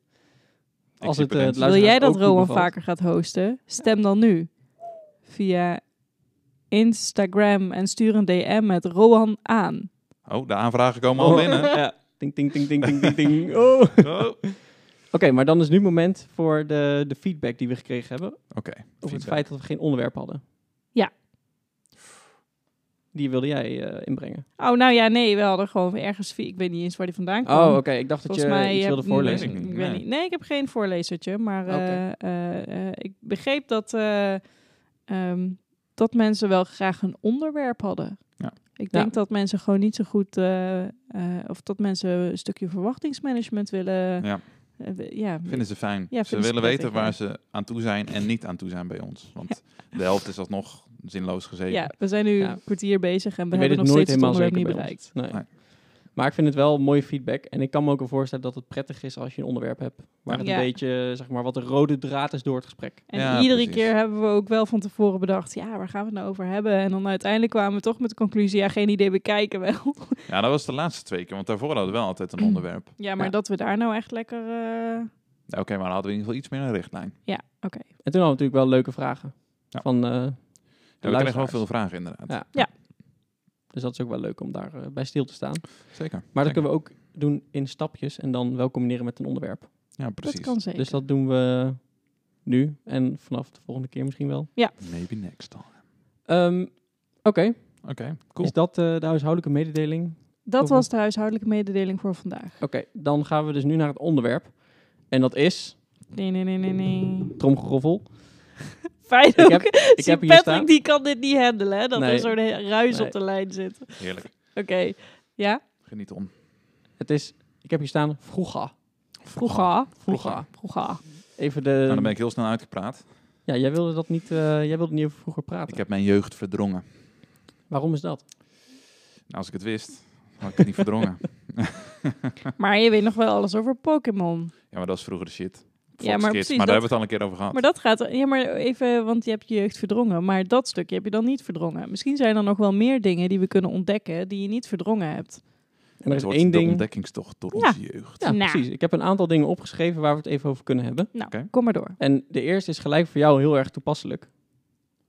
Ik Als zie het, eh, potentie. Luisteraars Wil jij dat ook goed Rowan bevalt. vaker gaat hosten? Stem dan nu via Instagram en stuur een DM met Rowan aan. Oh, de aanvragen komen al binnen. Ja. Ding, ding, ding, ding, ding, ding, ding. Oh. Oké, Oh. Oké. maar dan is nu het moment voor de, de feedback die we gekregen hebben. Over het feedback. feit dat we geen onderwerp hadden. Ja. Die wilde jij eh, inbrengen. Oh, nou ja, nee, we hadden gewoon ergens... via- Ik weet niet eens waar die vandaan kwam. Oh, oké. Ik dacht dat Volgens je mij iets heb- wilde voorlezen. Nee, Ik ik weet niet. niet. Nee. nee. ik heb geen voorlezertje, maar eh, Oké. eh, eh, ik begreep dat, eh, ehm, dat mensen wel graag een onderwerp hadden. Ja. Ik Ja. denk dat mensen gewoon niet zo goed, eh, eh, of dat mensen een stukje verwachtingsmanagement willen. Ja, eh, we- ja, vinden ze fijn. vinden ze ze willen prettig, weten ja. waar ze aan toe zijn en niet aan toe zijn bij ons. Want de helft is alsnog zinloos gezeten. ja, we zijn nu Ja. een kwartier bezig en we Ik weet hebben het nog nooit steeds het helemaal onderwerp niet zeker bij bereikt. Nee. Nee. Maar ik vind het wel mooi feedback. En ik kan me ook wel voorstellen dat het prettig is als je een onderwerp hebt. Waar het Ja. een beetje, zeg maar, wat de rode draad is door het gesprek. En Ja, iedere precies. keer hebben we ook wel van tevoren bedacht, ja, waar gaan we het nou over hebben? En dan uiteindelijk kwamen we toch met de conclusie, ja, geen idee, we kijken wel. Ja, dat was de laatste twee keer, want daarvoor hadden we wel altijd Mm. een onderwerp. Ja, maar Ja. dat we daar nou echt lekker. eh, Ja, Oké, maar dan hadden we in ieder geval iets meer een richtlijn. Ja, oké. En toen hadden we natuurlijk wel leuke vragen. Ja. Van, eh, Ja, we kregen wel luisteraars. veel vragen inderdaad. Ja. Ja. Dus dat is ook wel leuk om daar eh, bij stil te staan. Zeker. Maar dat kunnen we ook doen in stapjes en dan wel combineren met een onderwerp. Ja, precies. Dat kan zeker. Dus dat doen we nu en vanaf de volgende keer misschien wel. Maybe next time. Ehm, Oké, Oké, cool. is dat eh, de huishoudelijke mededeling? dat was de huishoudelijke mededeling voor vandaag. Oké, dan gaan we dus nu naar het onderwerp. En dat is, Nee, nee, nee, nee, nee. tromgeroffel, Fijn ik ook. heb, ik Zie, heb hier Patrick staan... die kan dit niet handelen, hè? Dat Nee. er zo'n he- ruis Nee. op de lijn zit. Oké, Heerlijk. ja? Geniet om. Ehm, Het is, ik heb hier staan, vroega. Vroeger. Vroega. Vroeger. Even Nou, dan ben de... ik heel snel uitgepraat. Ja, jij wilde dat niet, eh, jij wilde niet over vroeger praten. Ik heb mijn jeugd verdrongen. Waarom is dat? Nou, als ik het wist, had ik het niet verdrongen. Maar je weet nog wel alles over Pokémon. Ja, maar dat is vroeger de shit. Ja, maar Fox Kids, precies, maar daar dat- hebben we het al een keer over gehad. Maar dat gaat... Ja, maar even, want je hebt je jeugd verdrongen. Maar dat stukje heb je dan niet verdrongen. Misschien zijn er nog wel meer dingen die we kunnen ontdekken die je niet verdrongen hebt. En er Het is wordt één de ding... ontdekkingstocht door Ja. onze jeugd. Ja, Nou. precies. Ik heb een aantal dingen opgeschreven waar we het even over kunnen hebben. Nou, Oké. kom maar door. En de eerste is gelijk voor jou heel erg toepasselijk.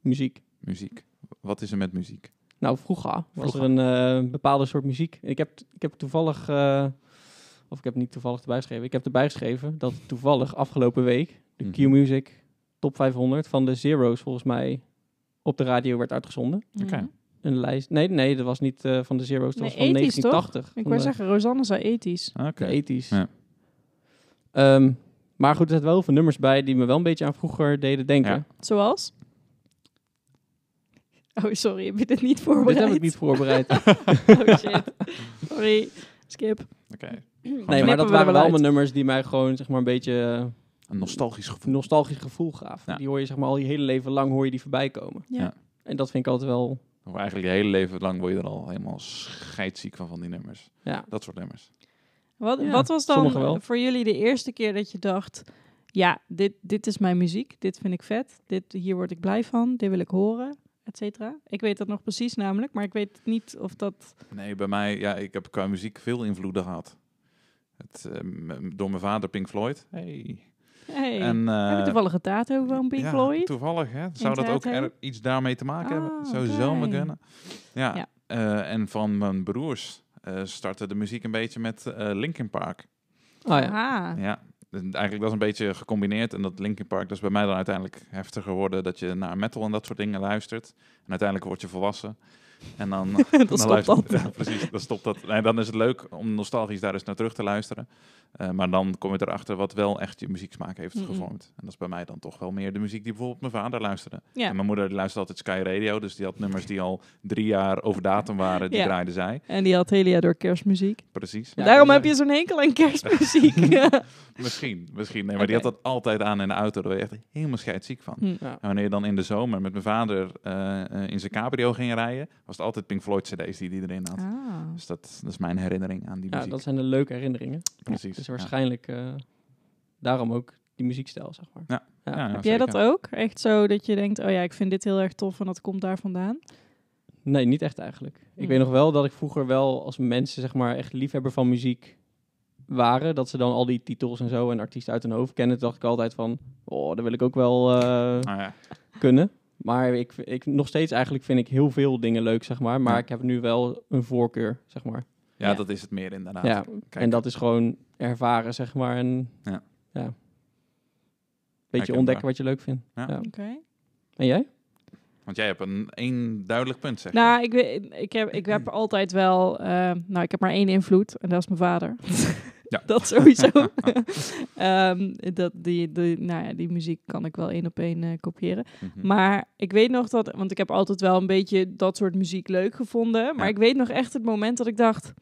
Muziek. Muziek. Wat is er met muziek? Nou, vroeger was Vroeger. er een eh, bepaalde soort muziek. Ik heb, ik heb toevallig, eh, of ik heb niet toevallig erbij geschreven, ik heb erbij geschreven dat toevallig afgelopen week de Mhm. Q-Music Top 500 van de Zero's volgens mij op de radio werd uitgezonden. Oké. Mm. Een lijst. Nee, nee, dat was niet eh, van de Zero's, dat Nee, was van 80s, toch? 1980. Ik van wou de- zeggen, Rosanne zei ethisch. Oké. de 80s. Ja. Ehm, maar goed, er zaten wel heel veel nummers bij die me wel een beetje aan vroeger deden denken. Ja. Zoals? Oh, sorry, heb je dit niet Dit voorbereid? heb ik niet voorbereid. Oh, shit. Sorry, skip. Oké. Nee, Knippen maar we dat waren er wel wel uit. allemaal nummers die mij gewoon zeg maar een beetje eh, Een nostalgisch gevoel. een nostalgisch gevoel gaven. Ja. Die hoor je zeg maar al je hele leven lang hoor je die voorbij komen. Ja. Ja. En dat vind ik altijd wel. Of Eigenlijk je hele leven lang word je er al helemaal scheidziek van, van die nummers. Ja. Dat soort nummers. Wat, Ja, wat was sommige wel. dan voor jullie de eerste keer dat je dacht... Ja, dit, dit is mijn muziek, dit vind ik vet, dit, hier word ik blij van, dit wil ik horen, et cetera. Ik weet dat nog precies namelijk, maar ik weet niet of dat... Nee, bij mij, ja, ik heb qua muziek veel invloeden gehad. Het, eh, m- door mijn vader Pink Floyd. Hey. Hey, En, eh, heb ik toevallig een tattoo van Pink ja, Floyd? toevallig, hè? Zou dat ook Tattoo? er iets daarmee te maken hebben? Ah, Zou zomaar oké. kunnen. Ja. Ja. Eh, en van mijn broers eh, startte de muziek een beetje met eh, Linkin Park. Oh ja. Ah, Ja, dus eigenlijk dat is een beetje gecombineerd. En dat Linkin Park, dat is bij mij dan uiteindelijk heftiger geworden. Dat je naar metal en dat soort dingen luistert. En uiteindelijk word je volwassen. En dan, eh, dan stopt luister- dat. Ja, precies, dan stopt dat. Nee, dan is het leuk om nostalgisch daar eens naar terug te luisteren. Eh, maar dan kom je erachter wat wel echt je muzieksmaak heeft Mm-mm. gevormd. En dat is bij mij dan toch wel meer de muziek die bijvoorbeeld mijn vader luisterde. Ja. En mijn moeder die luisterde altijd Sky Radio. Dus die had nummers die al drie jaar over datum waren. Die Ja. draaide zij. en die had het hele jaar door kerstmuziek. Precies. Ja, Daarom dat heb eh, is je zo'n hekel aan kerstmuziek. Misschien, misschien. Nee, maar die Oké. had dat altijd aan in de auto. Daar werd je echt helemaal scheidsziek van. Hm. Ja. En wanneer je dan in de zomer met mijn vader eh, eh, in zijn cabrio ging rijden, was het altijd Pink Floyd cd's die hij erin had. Ah. Dus dat, dat is mijn herinnering aan die Ja, muziek. dat zijn de leuke herinneringen. Precies. Dus ja. waarschijnlijk eh, daarom ook die muziekstijl, zeg maar. Ja, ja. ja, Heb jij dat zeker. ook? Echt zo dat je denkt, oh ja, ik vind dit heel erg tof en dat komt daar vandaan? Nee, niet echt eigenlijk. Hm. Hmm. Ik weet nog wel dat ik vroeger wel als mensen zeg maar echt liefhebber van muziek waren, dat ze dan al die titels en zo en artiesten uit hun hoofd kennen, toen dacht ik altijd van, oh, dat wil ik ook wel eh, Ah, ja. kunnen. Maar ik, ik, nog steeds eigenlijk vind ik heel veel dingen leuk, zeg maar. Maar Ja. ik heb nu wel een voorkeur, zeg maar. Ja, Ja. dat is het meer inderdaad. Ja, Kijk. en dat is gewoon ervaren, zeg maar. En Ja. ja, beetje Herkenbaar. ontdekken wat je leuk vindt. Ja. Ja. Oké. En jij? Want jij hebt een één duidelijk punt, zeg je. Nou, ik, weet- ik, heb, ik heb altijd wel... eh, nou, ik heb maar één invloed en dat is mijn vader. Ja. Dat sowieso. Ehm, dat, die, die, nou ja, die muziek kan ik wel één op één eh, kopiëren. Mhm. Maar ik weet nog dat, want ik heb altijd wel een beetje dat soort muziek leuk gevonden. Maar Ja. ik weet nog echt het moment dat ik dacht: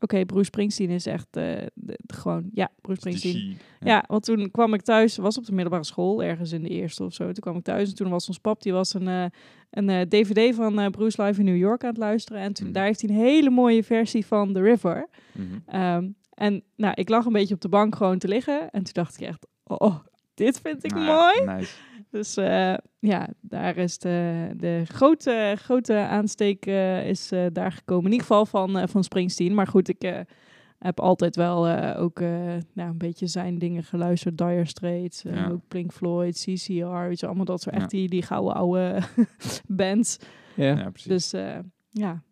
oké, Bruce Springsteen is echt eh, de- de- gewoon, ja, Bruce Dat is die Springsteen. G. Ja. want toen kwam ik thuis, was op de middelbare school, ergens in de eerste of zo. Toen kwam ik thuis en toen was ons pap, die was een, eh, een eh, DVD van eh, Bruce Live in New York aan het luisteren. En toen, Mhm. daar heeft hij een hele mooie versie van The River. Mhm. Ehm, en nou, ik lag een beetje op de bank gewoon te liggen. En toen dacht ik echt: oh, dit vind ik Nou ja, mooi. nice. Dus eh, ja, daar is de, de grote, grote aansteek eh, is eh, daar gekomen. In ieder geval van, eh, van Springsteen. Maar goed, ik eh, heb altijd wel eh, ook eh, nou, een beetje zijn dingen geluisterd. Dire Straits, eh, Ja. ook Pink Floyd, CCR, weet je, allemaal dat soort Ja. echt die, die gouden oude bands. Ja. Ja, precies. Dus eh, ja,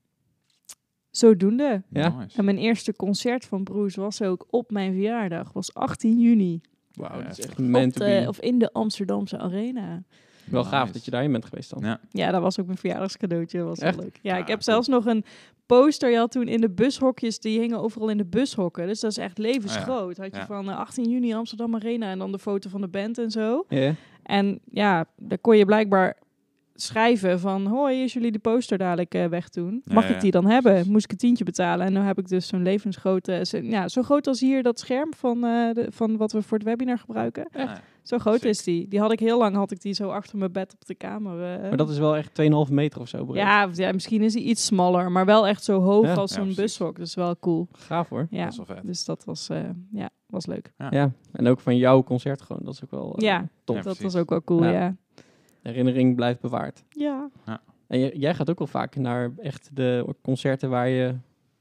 zodoende. Ja. Nice. En mijn eerste concert van Bruce was ook op mijn verjaardag. Was 18 juni. Wauw, dat is Heftig. echt meant Op to de- be. of in de Amsterdamse Arena. Wel gaaf Nice. dat je daarin bent geweest dan. Ja. Ja, dat was ook mijn verjaardagscadeautje. Was wel Echt? leuk. Ja, Ah, ik heb cool. zelfs nog een poster. Je had toen in de bushokjes, die hingen overal in de bushokken. Dus dat is echt levensgroot. Had je Ah Ja. van eh, 18 juni Amsterdam Arena en dan de foto van de band en zo. Ja. En ja, daar kon je blijkbaar schrijven van... Hoi, is jullie de poster dadelijk eh, weg doen? Ja, Mag ja. ik die dan hebben? Moest ik een tientje betalen? En nu heb ik dus zo'n levensgrote... zo- Ja, zo groot als hier dat scherm van, eh, de, van wat we voor het webinar gebruiken. Ja. Zo groot Sick. is die. Die had ik heel lang, had ik die zo achter mijn bed op de kamer. eh, Maar dat is wel echt 2,5 meter of zo breed. ja, of- ja, misschien is hij iets smaller, maar wel echt zo hoog Ja. als Ja, zo'n precies. bushok. Dat is wel cool. Gaaf hoor. Ja, Dat is wel vet. dus dat was, eh, ja, was leuk. Ja. Ja, en ook van jouw concert gewoon. Dat is ook wel eh, Ja. top. dat Ja. precies. was ook wel cool, Ja. ja. De herinnering blijft bewaard. Ja, En j- jij gaat ook wel vaak naar echt de concerten waar je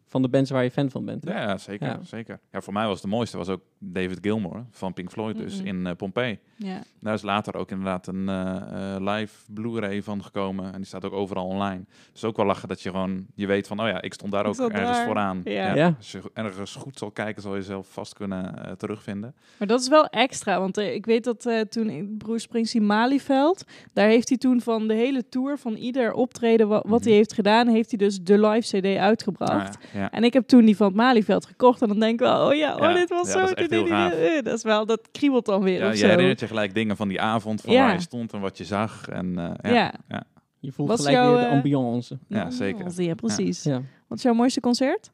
van de bands waar je fan van bent. hè? Ja, ja, zeker, Ja. zeker. Ja, voor mij was de mooiste was ook David Gilmour van Pink Floyd dus Mhm. in eh, Pompeii. ja. Daar is later ook inderdaad een eh, eh, live Blu-ray van gekomen. En die staat ook overal online. Dus ook wel lachen dat je gewoon, je weet van, oh ja, ik stond daar Ik ook zat ergens daar. vooraan. Ja. Ja. Als je ergens goed zal kijken, zal je zelf vast kunnen eh, terugvinden. Maar dat is wel extra, want eh, ik weet dat eh, toen in Bruce Springsteen Malieveld, daar heeft hij toen van de hele tour, van ieder optreden wa- wat Mhm. hij heeft gedaan, heeft hij dus de live CD uitgebracht. Nou ja, ja. En ik heb toen die van het Malieveld gekocht en dan denk ik wel, oh ja, oh Ja, dit was ja, zo. dat is echt dit- heel gaaf. eh, eh, dat is wel, dat kriebelt dan weer Ja, of je zo. herinnert je gelijk dingen van die avond, van Ja. waar je stond en wat je zag. En, eh, ja. Ja. ja. Je voelt Was gelijk jouw, weer de eh, ambiance. zeker. Ja, precies. Ja. Wat is jouw mooiste concert?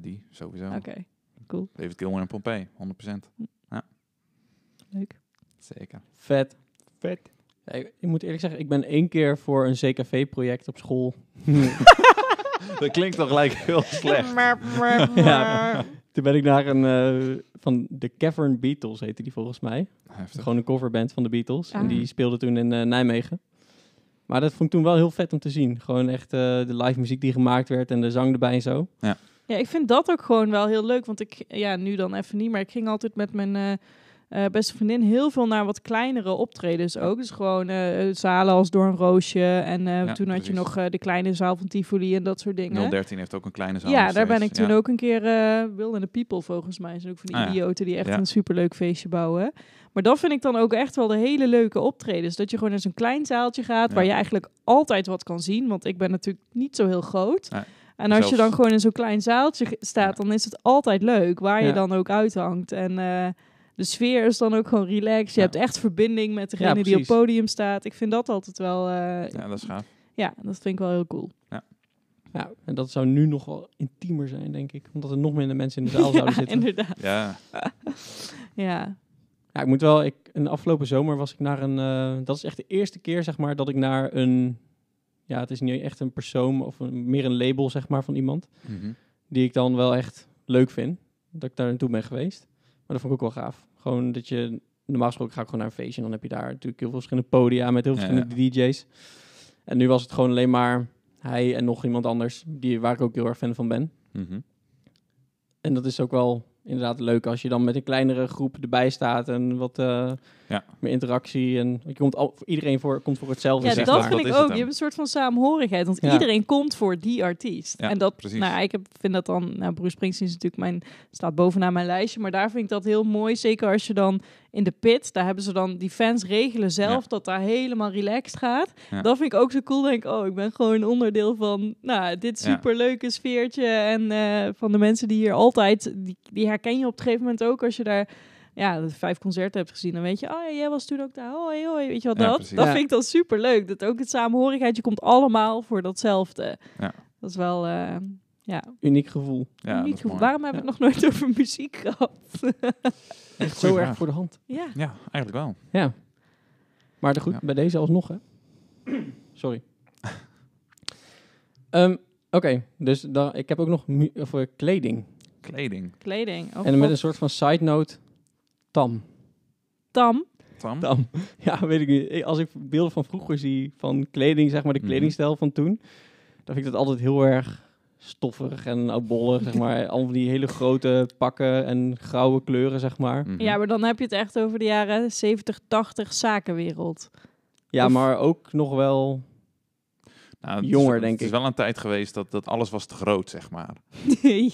die sowieso. Oké, cool. David Gilmour in Pompeii, 100%. Leuk. Zeker. Vet. Vet. ik, ik moet eerlijk zeggen, ik ben één keer voor een CKV-project op school. Toen Dat klinkt toch gelijk heel slecht. Ja. ben ik naar een eh, van de Cavern Beatles, heette die volgens mij. Heftig. Gewoon een coverband van de Beatles. Ah. En die speelde toen in eh, Nijmegen. Maar dat vond ik toen wel heel vet om te zien. Gewoon echt eh, de live muziek die gemaakt werd en de zang erbij en zo. Ja, ik vind dat ook gewoon wel heel leuk. Want ik, ja, nu dan even niet, maar ik ging altijd met mijn eh, eh, beste vriendin heel veel naar wat kleinere optredens ook. Dus gewoon eh, zalen als Door een Roosje. En eh, Ja, toen had je precies. nog eh, de kleine zaal van Tivoli en dat soort dingen. 013 heeft ook een kleine zaal. Ja, nog daar ben ik steeds. toen Ja. ook een keer eh Wild in the People volgens mij. Zijn ook van die Ah, ja. idioten die echt Ja. een superleuk feestje bouwen. Maar dat vind ik dan ook echt wel de hele leuke optredens. Dat je gewoon naar zo'n klein zaaltje gaat Ja. waar je eigenlijk altijd wat kan zien. Want ik ben natuurlijk niet zo heel groot. Nee. En als je Zelfs- dan gewoon in zo'n klein zaaltje ge- staat, dan is het altijd leuk. Waar je Ja. dan ook uithangt. En eh, de sfeer is dan ook gewoon relaxed. Je Ja. hebt echt verbinding met degene die op precies. podium staat. Ik vind dat altijd wel... eh, ja. Ja, dat is gaaf. dat vind ik wel heel cool. Ja, en dat zou nu nog wel intiemer zijn, denk ik. Omdat er nog minder mensen in de zaal zouden Ja, zitten. inderdaad. Ja, Ja. Ja, ik moet wel. Ik, in de afgelopen zomer was ik naar een. eh, dat is echt de eerste keer, zeg maar, dat ik naar een. Ja, het is niet echt een persoon of een, meer een label, zeg maar, van iemand. Mhm. Die ik dan wel echt leuk vind. Dat ik daar naartoe ben geweest. Maar dat vond ik ook wel gaaf. Gewoon dat je. Normaal gesproken ga ik gewoon naar een feestje. En dan heb je daar natuurlijk heel veel verschillende podia met heel veel Ja, verschillende DJ's. En nu was het gewoon alleen maar hij en nog iemand anders. Die, waar ik ook heel erg fan van ben. Mhm. En dat is ook wel inderdaad leuk als je dan met een kleinere groep erbij staat en wat eh, Ja. meer interactie. En je komt al, voor iedereen voor, komt voor hetzelfde. Ja, zeg dat maar. waar. vind Dat ik is het ook. Je dan. hebt een soort van saamhorigheid. Want Ja. iedereen komt voor die artiest. Ja, en dat, precies. nou, ik heb, vind dat dan, nou, Bruce Springsteen is natuurlijk mijn, staat bovenaan mijn lijstje. Maar daar vind ik dat heel mooi. Zeker als je dan in de pit, daar hebben ze dan, die fans regelen zelf Ja. dat daar helemaal relaxed gaat. Ja. Dat vind ik ook zo cool. Denk ik, oh, ik ben gewoon onderdeel van, nou, dit Ja. superleuke sfeertje. En eh, van de mensen die hier altijd, die, die herken je op een gegeven moment ook als je daar... Ja, dat je vijf concerten hebt gezien, dan weet je, oh ja, jij was toen ook daar, hoi, hoi, weet je wat Ja, dat? precies. Dat Ja. vind ik dan super leuk. Dat ook het samenhorigheid, je komt allemaal voor datzelfde. Ja. Dat is wel, eh, ja, Uniek gevoel. ja dat uniek. is mooi. Waarom hebben we het nog nooit over muziek gehad? Echt Goeie zo erg vraag. voor de hand. ja. Ja, eigenlijk wel. Ja. Maar de goed, Ja. bij deze alsnog hè. Sorry. Ehm, Oké, dus dan, ik heb ook nog mu- of, eh, Oh, kleding. Kleding. Kleding. Oh, en met God. een soort van side note, tam. Tam. Hm? Tam? Tam. Ja, weet ik niet. Ik- Als ik beelden van vroeger zie, van kleding, zeg maar, de Mhm. kledingstijl van toen, dan vind ik dat altijd heel erg stoffig en oudbollig, zeg maar. Al van die hele grote pakken en grauwe kleuren, zeg maar. Mhm. Ja, maar dan heb je het echt over de jaren 70, 80 zakenwereld. Ja, Of- maar ook nog wel... Nou, het is- jonger, denk Het ik. is wel een tijd geweest dat, dat alles was te groot, zeg maar.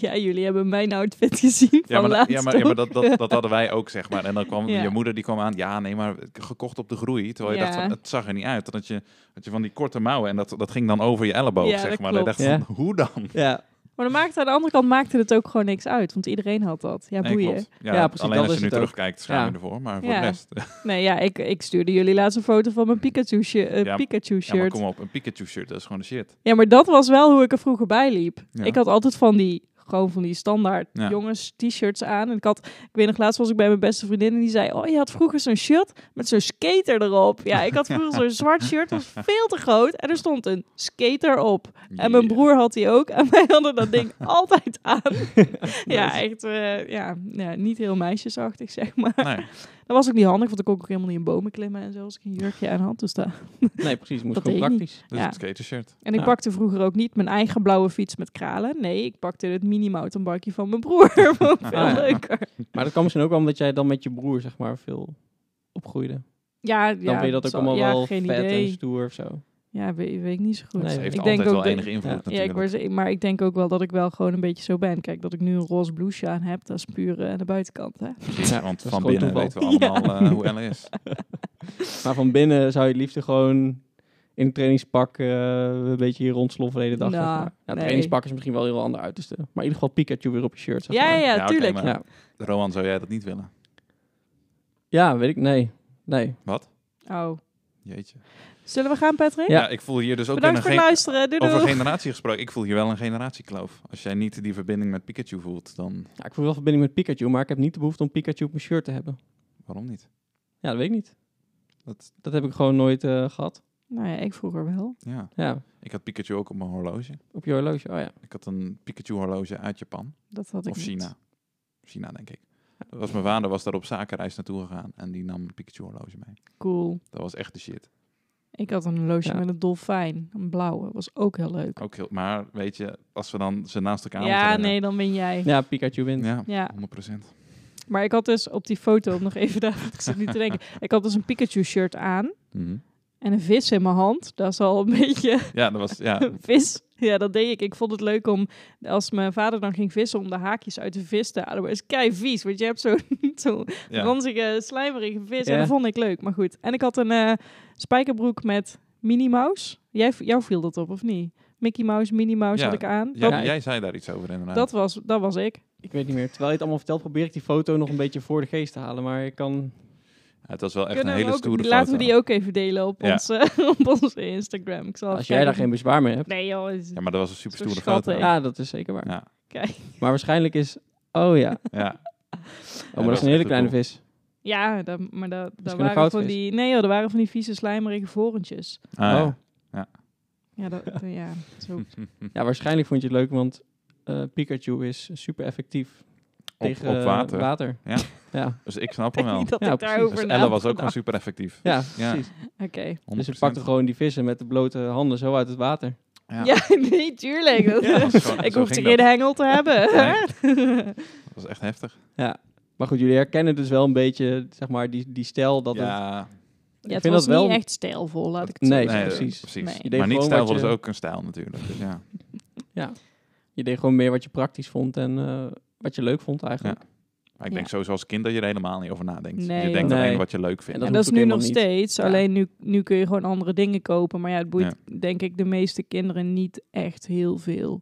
ja, jullie hebben mijn outfit gezien Ja, van maar, dat- laatst ja, maar, ja, maar ook. dat, dat, dat hadden wij ook, zeg maar. En dan kwam Ja. je moeder, die kwam aan, ja, nee, maar gekocht op de groei. Terwijl je Ja. dacht, van, het zag er niet uit. Dat je, dat je van die korte mouwen, en dat, dat ging dan over je elleboog, Ja, zeg dat maar. Dan dacht klopt. je van, hoe dan? Ja, Maar dan maakte, aan de andere kant maakte het ook gewoon niks uit, want iedereen had dat. Ja, Nee, boeien. klopt. Ja, Ja, precies, alleen dat als is je nu het ook. terugkijkt, schaam je Ja. ervoor. Maar voor Ja. de rest, eh, Nee, ja, ik, ik stuurde jullie laatst een foto van mijn eh, Pikachu-shirt. Ja, ja, maar Pikachu-shirt. kom op, een Pikachu-shirt, dat is gewoon de shit. Ja, maar dat was wel hoe ik er vroeger bij liep. Ja. Ik had altijd van die, gewoon van die standaard Ja. jongens t-shirts aan. En ik had, ik weet nog, laatst was ik bij mijn beste vriendin en die zei, oh, je had vroeger zo'n shirt met zo'n skater erop. Ja, ik had vroeger zo'n zwart shirt, dat was veel te groot en er stond een skater op. En mijn Yeah. broer had die ook en wij hadden dat ding altijd aan. ja, is- echt, eh, ja, ja, niet heel meisjesachtig, zeg maar. Nee, Dat was ook niet handig, want ik kon ook helemaal niet in bomen klimmen en zo, als ik een jurkje aan had. Dus dat... nee, precies. Het moest Dat gewoon deed ik praktisch. dat is Ja. een skatershirt. En ik Ja. pakte vroeger ook niet mijn eigen blauwe fiets met kralen. Nee, ik pakte het mini-mountainbike van mijn broer. Vond ik Veel Ah. leuker. Maar dat kwam misschien ook wel omdat jij dan met je broer, zeg maar, veel opgroeide. Ja, Dan ja, vind je dat ook zal- allemaal ja, wel vet geen en idee. stoer of zo. Ja, weet, weet ik niet zo goed. Nee, Ze heeft ik altijd denk ook wel dat- enige invloed Ja. ja, natuurlijk. ik word, maar ik denk ook wel dat ik wel gewoon een beetje zo ben. Kijk, dat ik nu een roze blouseje aan heb, dat is puur eh, aan de buitenkant. Hè? Precies, Ja, want dat is van gewoon binnen toeval. weten we allemaal eh, hoe Ellen is. Maar van binnen zou je het liefst gewoon in een trainingspak eh, een beetje hier rondsloffen de hele dag. Nou, zeg maar. Nou, nee. trainingspak is misschien wel een heel ander uiterste. Maar in ieder geval Pikachu weer op je shirt. Zeg Ja, maar. ja, Ja, oké, tuurlijk. maar- Ja. Rowan, zou jij dat niet willen? Ja, weet ik. Nee. Nee. Oh. Jeetje. Zullen we gaan, Patrick? Ja. Ja, ik voel hier dus ook Bedankt een voor ge- het luisteren. Doei, Over doei. generatie gesproken, ik voel hier wel een generatiekloof. Als jij niet die verbinding met Pikachu voelt, dan Ja, ik voel wel verbinding met Pikachu, maar ik heb niet de behoefte om Pikachu op mijn shirt te hebben. waarom niet? Ja, dat weet ik niet. Dat- Dat heb ik gewoon nooit eh, gehad. Nou ja, ik vroeger wel. Ja, Ja, ik had Pikachu ook op mijn horloge. op je horloge. Oh ja. Ik had een Pikachu horloge uit Japan Dat had ik of niet. China. China denk ik. Dat was mijn vader was daar op zakenreis naartoe gegaan en die nam een Pikachu horloge mee. Cool. Dat was echt de shit. Ik had een horloge Ja. met een dolfijn. Een blauwe. Was ook heel leuk. Ook heel, maar weet je, als we dan ze naast elkaar ja, moeten leggen- nee, dan ben jij. Ja, Pikachu wint. Ja, Ja. 100%. Maar ik had dus op die foto, om nog even daar, ik zit nu te denken. Ik had dus een Pikachu-shirt aan Mhm. en een vis in mijn hand. Dat is al een beetje Ja, dat was... Ja, een vis. Ja, dat deed ik. Ik vond het leuk om, als mijn vader dan ging vissen, om de haakjes uit de vis te halen. Maar dat is kei vies, want je hebt zo'n zo ja. ranzige, slijmerige vis. Ja. En dat vond ik leuk, maar goed. En ik had een eh, spijkerbroek met Minnie Mouse. Jij, jou viel dat op, of niet? Mickey Mouse, Minnie Mouse Ja. had ik aan. Ja, Dat, jij zei daar iets over inderdaad. dat, was, dat was ik. Ik weet niet meer. Terwijl je het allemaal vertelt, probeer ik die foto nog een beetje voor de geest te halen. Maar ik kan... Ja, het was wel echt Kunnen een we hele ook- stoere Laten foto. we die ook even delen op, Ja. ons, eh, op onze Instagram. Ik zal Als even jij daar kijken. geen bezwaar mee hebt. Nee joh, het is- Ja, maar dat was een super Zo stoere foto. schattig. Ja. Ja, dat is zeker waar. Ja. kijk. Maar waarschijnlijk is... Oh ja. Oh, Ja. maar dat is een hele kleine vis. Ja, dat, maar dat, dat een waren goudvis. van die... Nee joh, dat waren van die vieze slijmerige vorentjes. oh. Ah, ja. Ja, dat, ja. Hm. zo. Ja, waarschijnlijk vond je het leuk, want eh, Pikachu is super effectief Op, tegen op eh, water. water. Ja. ja. Dus ik snap hem wel. Niet dat Ja, ik precies. daarover Dus na Ella heb was ook gewoon gedacht. super effectief. Ja, Ja. precies. Oké. 100%. Dus ze pakte gewoon die vissen met de blote handen zo uit het water. Ja. Ja. nee, tuurlijk. Dat- Ja, dat was gewoon- ik zo hoef er ging geen dat. hengel te hebben. Dat was echt heftig. Maar goed, jullie herkennen dus wel een beetje, zeg maar, die, die stijl dat het... Ja, eh, ja, vind het was dat wel- niet echt stijlvol, laat ik het Nee, zo nee, zeggen. precies. Nee. Je deed Maar niet gewoon stijl wat was je- ook een stijl natuurlijk. Dus ja. Je deed gewoon meer wat je praktisch vond en eh, wat je leuk vond eigenlijk. Maar ik denk Ja. sowieso als kind dat je er helemaal niet over nadenkt. Dus Nee, je denkt joh. alleen Nee. wat je leuk En vindt. dat en dat is hoeft ook nu nog helemaal steeds. Ja. Alleen nu, nu kun je gewoon andere dingen kopen. Maar ja, het boeit denk ik de meeste kinderen niet echt heel veel.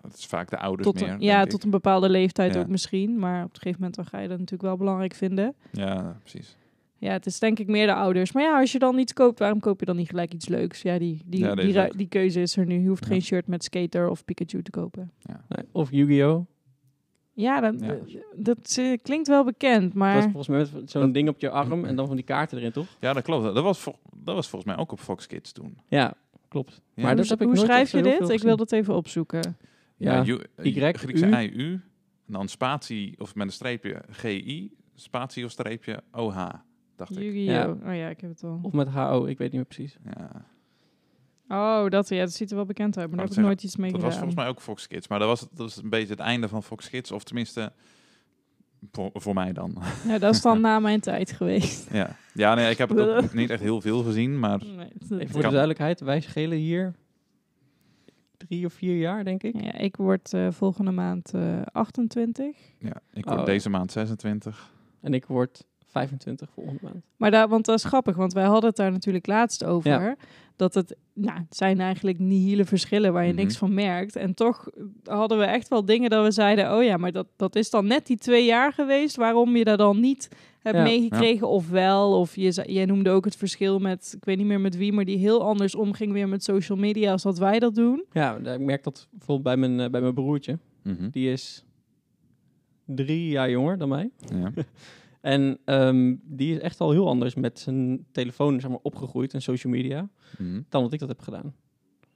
Het is vaak de ouders Tot dus meer. een, ja, denk tot ik. een bepaalde leeftijd Ja. ook misschien. Maar op een gegeven moment dan ga je dat natuurlijk wel belangrijk vinden. Ja, precies. Ja, het is denk ik meer de ouders. Maar ja, als je dan iets koopt, waarom koop je dan niet gelijk iets leuks? Ja, die, die, Ja, dat die, is ru- ook. die keuze is er nu. Je hoeft Ja. geen shirt met skater of Pikachu te kopen. Nee, Of Yu-Gi-Oh! Ja, dat, Ja. dat eh, klinkt wel bekend, Dat was maar... volgens mij met zo'n ding op je arm en dan van die kaarten erin, toch? Ja, dat klopt. Dat was, vol- dat was volgens mij ook op Fox Kids toen. Ja, klopt. Ja. Maar dat hoe heb ik hoe nooit schrijf echt zo je heel dit? veel Ik wil gezien. dat even opzoeken. Ja, ju- eh, Y, Griekse U. I, U. En dan spatie, of met een streepje, G-I. Spatie of streepje, OH, dacht ik. Yu-Gi-Oh! Ja. Oh ja, ik heb het al. Of met HO, ik weet niet meer precies. Ja. Oh, dat, ja, dat ziet er wel bekend uit, maar daar heb Ik ik wou nooit iets mee Oh, Dat gedaan. was volgens mij ook Fox Kids. Maar dat was, dat was een beetje het einde van Fox Kids. Of tenminste, voor, voor mij dan. Ja, dat is dan na mijn tijd geweest. ja. ja, nee, ik heb het ook niet echt heel veel gezien. Maar Nee, Even voor dat- de kan. duidelijkheid, wij schelen hier drie of vier jaar, denk ik. ja, ik word eh, volgende maand eh, 28. ja, ik word Oh. deze maand 26. En ik word 25 volgende maand. Maar daar, want dat is grappig, want wij hadden het daar natuurlijk laatst over. Ja. Dat het, nou, het zijn eigenlijk nihile verschillen waar je Mhm. niks van merkt. En toch eh, hadden we echt wel dingen dat we zeiden: oh ja, maar dat, dat is dan net die twee jaar geweest waarom je daar dan niet hebt Ja. meegekregen. Of wel, of je, ze- jij noemde ook het verschil met, ik weet niet meer met wie, maar die heel anders omging weer met social media als dat wij dat doen. Ja, ik merk dat bijvoorbeeld bij mijn, eh, bij mijn broertje. Mhm. Die is drie jaar jonger dan mij. Ja. En ehm, die is echt al heel anders met zijn telefoon zeg maar, opgegroeid en social media Mhm. dan wat ik dat heb gedaan.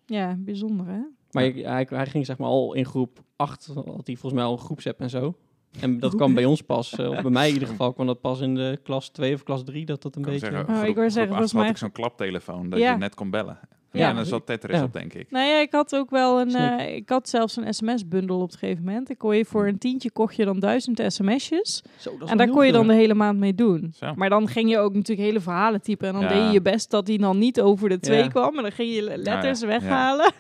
Ja, bijzonder hè? Maar ik- hij, hij ging zeg maar al in groep 8, had hij volgens mij al een groepsapp en zo. En dat kwam bij ons pas, eh, of bij mij in ieder geval, kwam dat pas in de klas 2 of klas 3 dat dat een Ik wou beetje... zeggen, Oh, ik groep- wou zeggen, groep volgens acht had mij- ik zo'n klaptelefoon dat Ja. je net kon bellen. Ja. Ja, en daar zat Tetris Ja. op, denk ik. Nou ja, ik had ook wel een. Snik. eh, ik had zelfs een sms-bundel op een gegeven moment. Ik kon je voor een tientje kocht je dan duizend sms'jes. Zo, dat is wel En daar heel kon je dan veel. de hele maand mee doen. Zo. Maar dan ging je ook natuurlijk hele verhalen typen. En dan Ja. deed je je best dat die dan niet over de twee Ja. Nou kwam. En dan ging je le- letters Ja, ja. weghalen.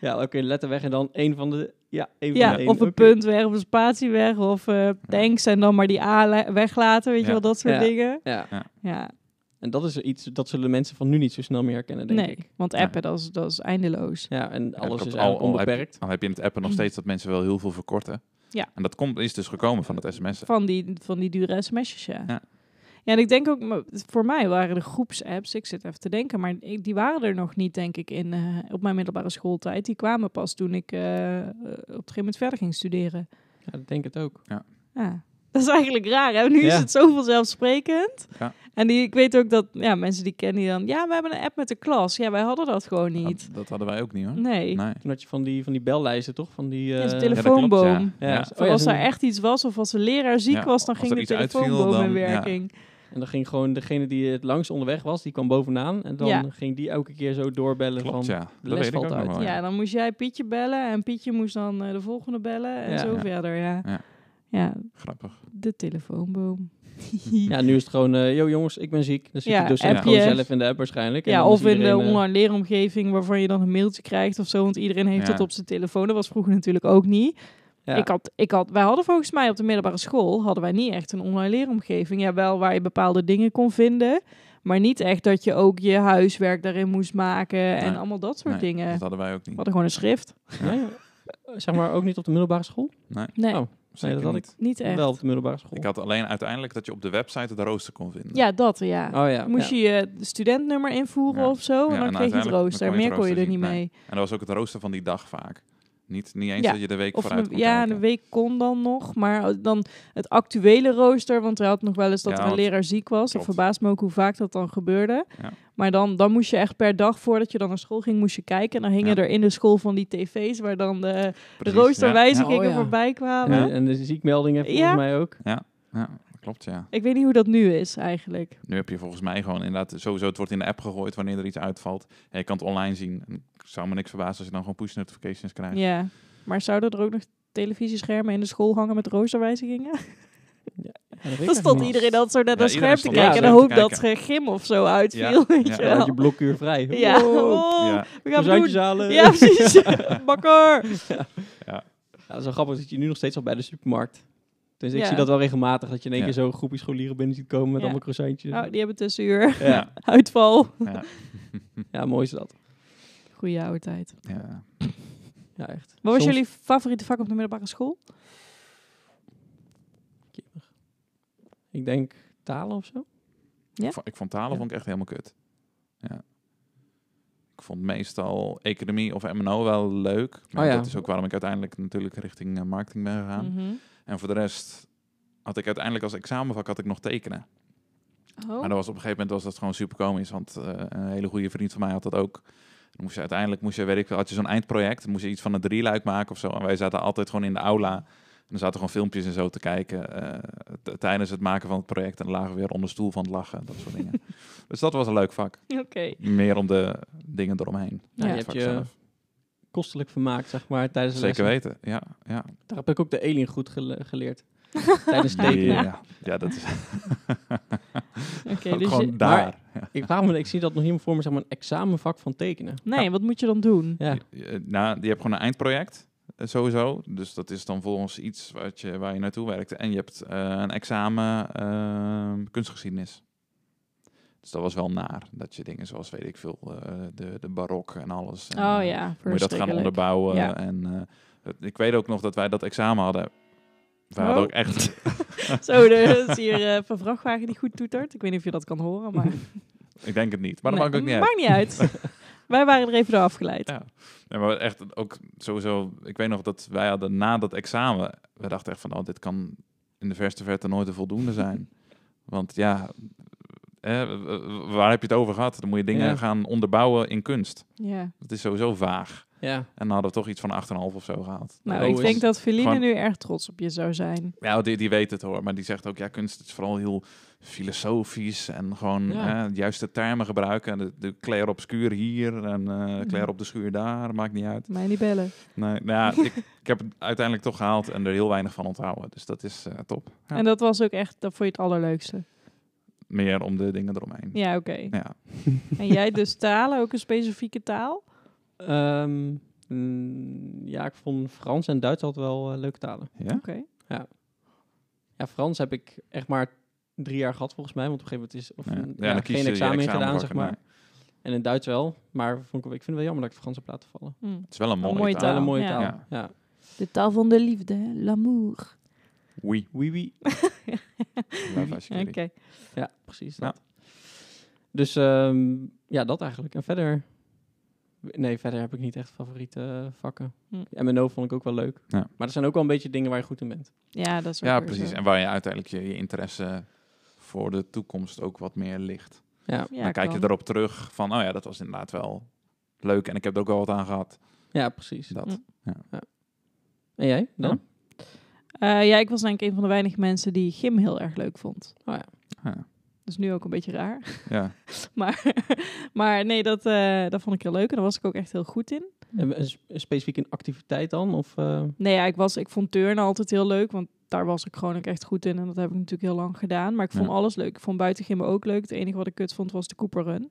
Ja, oké, letter weg en dan één van de... Ja, één Ja, van de één. of een Oké. punt weg, of een spatie weg. Of eh thanks en dan maar die A le- weglaten. Weet Ja. je wel, dat soort Ja. dingen. Ja, Ja, en dat is iets, dat zullen mensen van nu niet zo snel meer herkennen, denk nee. ik. Want appen, dat, is, dat is eindeloos. Ja, en alles Ja, dat is klopt. eigenlijk heb je- onbeperkt. al heb je in het appen nog steeds dat mensen wel heel veel verkorten. Ja. En dat komt, is dus gekomen van het sms'en. Van die, van die dure sms'jes, ja. Ja. ja. en ik denk ook, maar voor mij waren de groepsapps, ik zit even te denken, maar ik- die waren er nog niet, denk ik, in, eh, op mijn middelbare schooltijd. Die kwamen pas toen ik eh, eh, op een gegeven moment verder ging studeren. Ja, dat denk ik het ook. Ja. Dat is eigenlijk raar, hè? Nu Ja. is het zo vanzelfsprekend. Ja. En die, ik weet ook dat ja, mensen die kennen die dan... Ja, we hebben een app met de klas. Ja, wij hadden dat gewoon niet. Dat, dat hadden wij ook niet hoor. Nee. Nee. Toen had je van die, van die bellijsten, toch? Van die... Ja, eh, zo'n Ja, dat telefoonboom. klopt, ja. Oh Ja. oh Ja. Ja. Of als zo'n- daar echt iets was of als de leraar ziek Ja, was... dan als ging er de iets uitviel, telefoonboom in dan- ja. werking. En dan ging gewoon degene die het langst onderweg was, die kwam bovenaan. En dan Ja. ging die elke keer zo doorbellen Klopt, van... ja. Dat les weet ik ook valt nog uit. wel. Ja, dan moest jij Pietje bellen en Pietje moest dan eh, de volgende bellen en Ja. zo Ja. verder, ja. Ja. ja. Ja, Grappig. de telefoonboom. Ja, nu is het gewoon, eh yo jongens, ik ben ziek. Dan zit Ja, die docent app gewoon je. zelf in de app waarschijnlijk. En Ja, dan is of in de iedereen, eh, online leeromgeving waarvan je dan een mailtje krijgt of zo. Want iedereen heeft Ja. dat op zijn telefoon. Dat was vroeger natuurlijk ook niet. ja. Ik had, ik had, wij hadden volgens mij op de middelbare school hadden wij niet echt een online leeromgeving. Ja, wel waar je bepaalde dingen kon vinden. Maar niet echt dat je ook je huiswerk daarin moest maken en Nee. allemaal dat soort Nee, dingen. Dat We hadden wij ook niet. hadden gewoon een schrift. Nee, eh, zeg maar ook niet op de middelbare school? Nee, Oh, Zeker dat had niet. niet echt. Wel op de middelbare school. Ik had alleen uiteindelijk dat je op de website het rooster kon vinden. Ja, dat ja. oh ja. Moest ja. je je studentnummer invoeren Ja. of zo. En Ja, dan en kreeg je het uiteindelijk- dan rooster. kon je Meer het kon je er rooster niet zien, nee. mee. En dat was ook het rooster van die dag vaak. Niet, niet eens Ja. dat je de week Of vooruit een- kon ja, kijken. een week kon dan nog. Maar dan het actuele rooster. Want hij had nog wel eens dat Ja, er een want- leraar ziek was. Dat klopt. verbaast me ook hoe vaak dat dan gebeurde. Ja. Maar dan, dan moest je echt per dag, voordat je dan naar school ging, moest je kijken. En dan hingen Ja. er in de school van die tv's, waar dan de, de Precies, roosterwijzigingen Ja. Oh, ja. voorbij kwamen. En, en de ziekmeldingen volgens Ja. mij ook. Ja, ja, klopt ja. Ik weet niet hoe dat nu is eigenlijk. Nu heb je volgens mij gewoon inderdaad, sowieso het wordt in de app gegooid wanneer er iets uitvalt. En je kan het online zien. En ik zou me niks verbazen als je dan gewoon push notifications krijgt. Ja. Maar zouden er ook nog televisieschermen in de school hangen met roosterwijzigingen? Ja, dat weet ik Dan stond eigenlijk iedereen dan zo naar Ja, dat iedereen scherm te stond kijken. En daar de zo te hoop dat kijken. ze gym of zo uitviel, weet ja. je niet. Ja, dan had wel. je blokuur vrij. Ja, Wow. oh, Ja. we gaan Croissantes doen. eh, halen. Ja, precies. Bakker. Ja, dat is wel grappig dat je nu nog steeds al bij de supermarkt. Dus ik Ja. zie dat wel regelmatig, dat je in één Ja. keer zo'n groepje scholieren binnen ziet komen met Ja. allemaal croissantjes. Oh, die hebben tussenuur. ja. Ja. Uitval. Ja. ja, mooi is dat. Goeie oude tijd. Ja. Ja, echt. Wat was Soms- jullie favoriete vak op de middelbare school? Ik denk talen of zo. Ja? Vo- Ik vond talen Ja. vond ik echt helemaal kut. Ja. Ik vond meestal economie of MNO wel leuk. Maar Oh ja. dat is ook waarom ik uiteindelijk natuurlijk richting eh, marketing ben gegaan. Mhm. En voor de rest had ik uiteindelijk als examenvak had ik nog tekenen. Oh. Ah, Maar dat was op een gegeven moment was dat gewoon super komisch, want eh, een hele goede vriend van mij had dat ook. Dan moest je uiteindelijk, moest je, weet ik, veel, had je zo'n eindproject, dan moest je iets van een drieluik maken of zo. En wij zaten altijd gewoon in de aula. En dan zaten gewoon filmpjes en zo te kijken eh, t- tijdens het maken van het project. En dan lagen we weer onder stoel van het lachen, dat soort dingen. dus dat was een leuk vak. Oké. Meer om de dingen eromheen. je Ja. Het hebt vak je zelf. kostelijk vermaakt, zeg maar, tijdens de Zeker lessen. weten, ja. ja. Daar heb ik ook de alien goed gele- geleerd. tijdens tekenen. Ja, ja, dat is Oké, ook dus gewoon je- daar. Ik, vraag me, ik zie dat nog helemaal voor me, zeg maar, een examenvak van tekenen. Nee, wat moet je dan doen? Ja. Eh, Nou, die hebt gewoon een eindproject, eh, sowieso. Dus dat is dan volgens iets wat je, waar je naartoe werkt. En je hebt eh, een examen ehm, kunstgeschiedenis. Dus dat was wel naar, dat je dingen zoals, weet ik veel, eh, de, de barok en alles. En, Oh eh, ja, Moet je dat gaan verschrikkelijk. onderbouwen. Ja. En, eh, het- ik weet ook nog dat wij dat examen hadden. Wij hadden Oh. ook echt... Zo, er is hier eh, een vrachtwagen die goed toetert. Ik weet niet of je dat kan horen, maar... ik denk het niet, maar dat Nee, maakt ook niet uit. Maakt niet uit. Wij waren er even door afgeleid. Ja. Nee, maar echt ook sowieso, ik weet nog dat wij hadden na dat examen, we dachten echt van, oh, dit kan in de verste verte nooit een voldoende zijn. Want ja, eh, w- w- waar heb je het over gehad? Dan moet je dingen Ja. gaan onderbouwen in kunst. Ja. Dat is sowieso vaag. Ja. En dan hadden we toch iets van een 8,5 of zo gehaald. Nou, Oh, ik is- denk dat Feline gewoon- nu erg trots op je zou zijn. Ja, die, die weet het hoor, maar die zegt ook, ja, kunst is vooral heel filosofisch en gewoon Ja. eh, de juiste termen gebruiken. En de, de clair obscuur hier en Mhm. eh clair op de schuur daar, maakt niet uit. Mij niet bellen. Nee, nou ja, ik, ik heb het uiteindelijk toch gehaald en er heel weinig van onthouden. Dus dat is eh, top. Ja. En dat was ook echt, dat vond je het allerleukste. Meer om de dingen eromheen. Ja, oké. Ja. En jij dus talen, ook een specifieke taal? Ehm, mm, ja, ik vond Frans en Duits altijd wel eh, leuke talen. Ja? Oké. Ja, Frans heb ik echt maar drie jaar gehad volgens mij, want op een gegeven moment is of, Ja. een- Ja, ja, dan kies je geen je examen in examenvak gedaan, zeg maar. ernaar. En in Duits wel, maar vond ik, ik vind het wel jammer dat ik Frans heb laten vallen. Hm. Het is wel een mooie, mooie Het is wel taal. een mooie ja. taal. Ja. Ja. De taal van de liefde, hè? l'amour. Oui. Oui, oui. Love as you Oké. do. Ja, precies Ja. dat. Dus ehm, ja, dat eigenlijk. En verder... Nee, verder heb ik niet echt favoriete eh, vakken. Hm. MNO vond ik ook wel leuk. Ja. Maar er zijn ook wel een beetje dingen waar je goed in bent. Ja, dat is ook Ja, weer precies. zo. En waar je uiteindelijk je, je interesse voor de toekomst ook wat meer ligt. Ja, Ja, dan kijk je kan. erop terug van, oh ja, dat was inderdaad wel leuk. En ik heb er ook wel wat aan gehad. ja precies. Dat. Hm. En jij dan? Eh, ja, ik was denk ik een van de weinige mensen die gym heel erg leuk vond. Ja. Dus nu ook een beetje raar. Ja. Maar, maar nee, dat, eh, dat vond ik heel leuk en daar was ik ook echt heel goed in. En we- een s- een specifiek een activiteit dan? Of, eh, Oh, Nee, ja, ik, was, ik vond turnen altijd heel leuk, want daar was ik gewoon ook echt goed in. En dat heb ik natuurlijk heel lang gedaan. Maar ik vond Ja. alles leuk. Ik vond buitengimmen ook leuk. Het enige wat ik kut vond was de Cooperrun.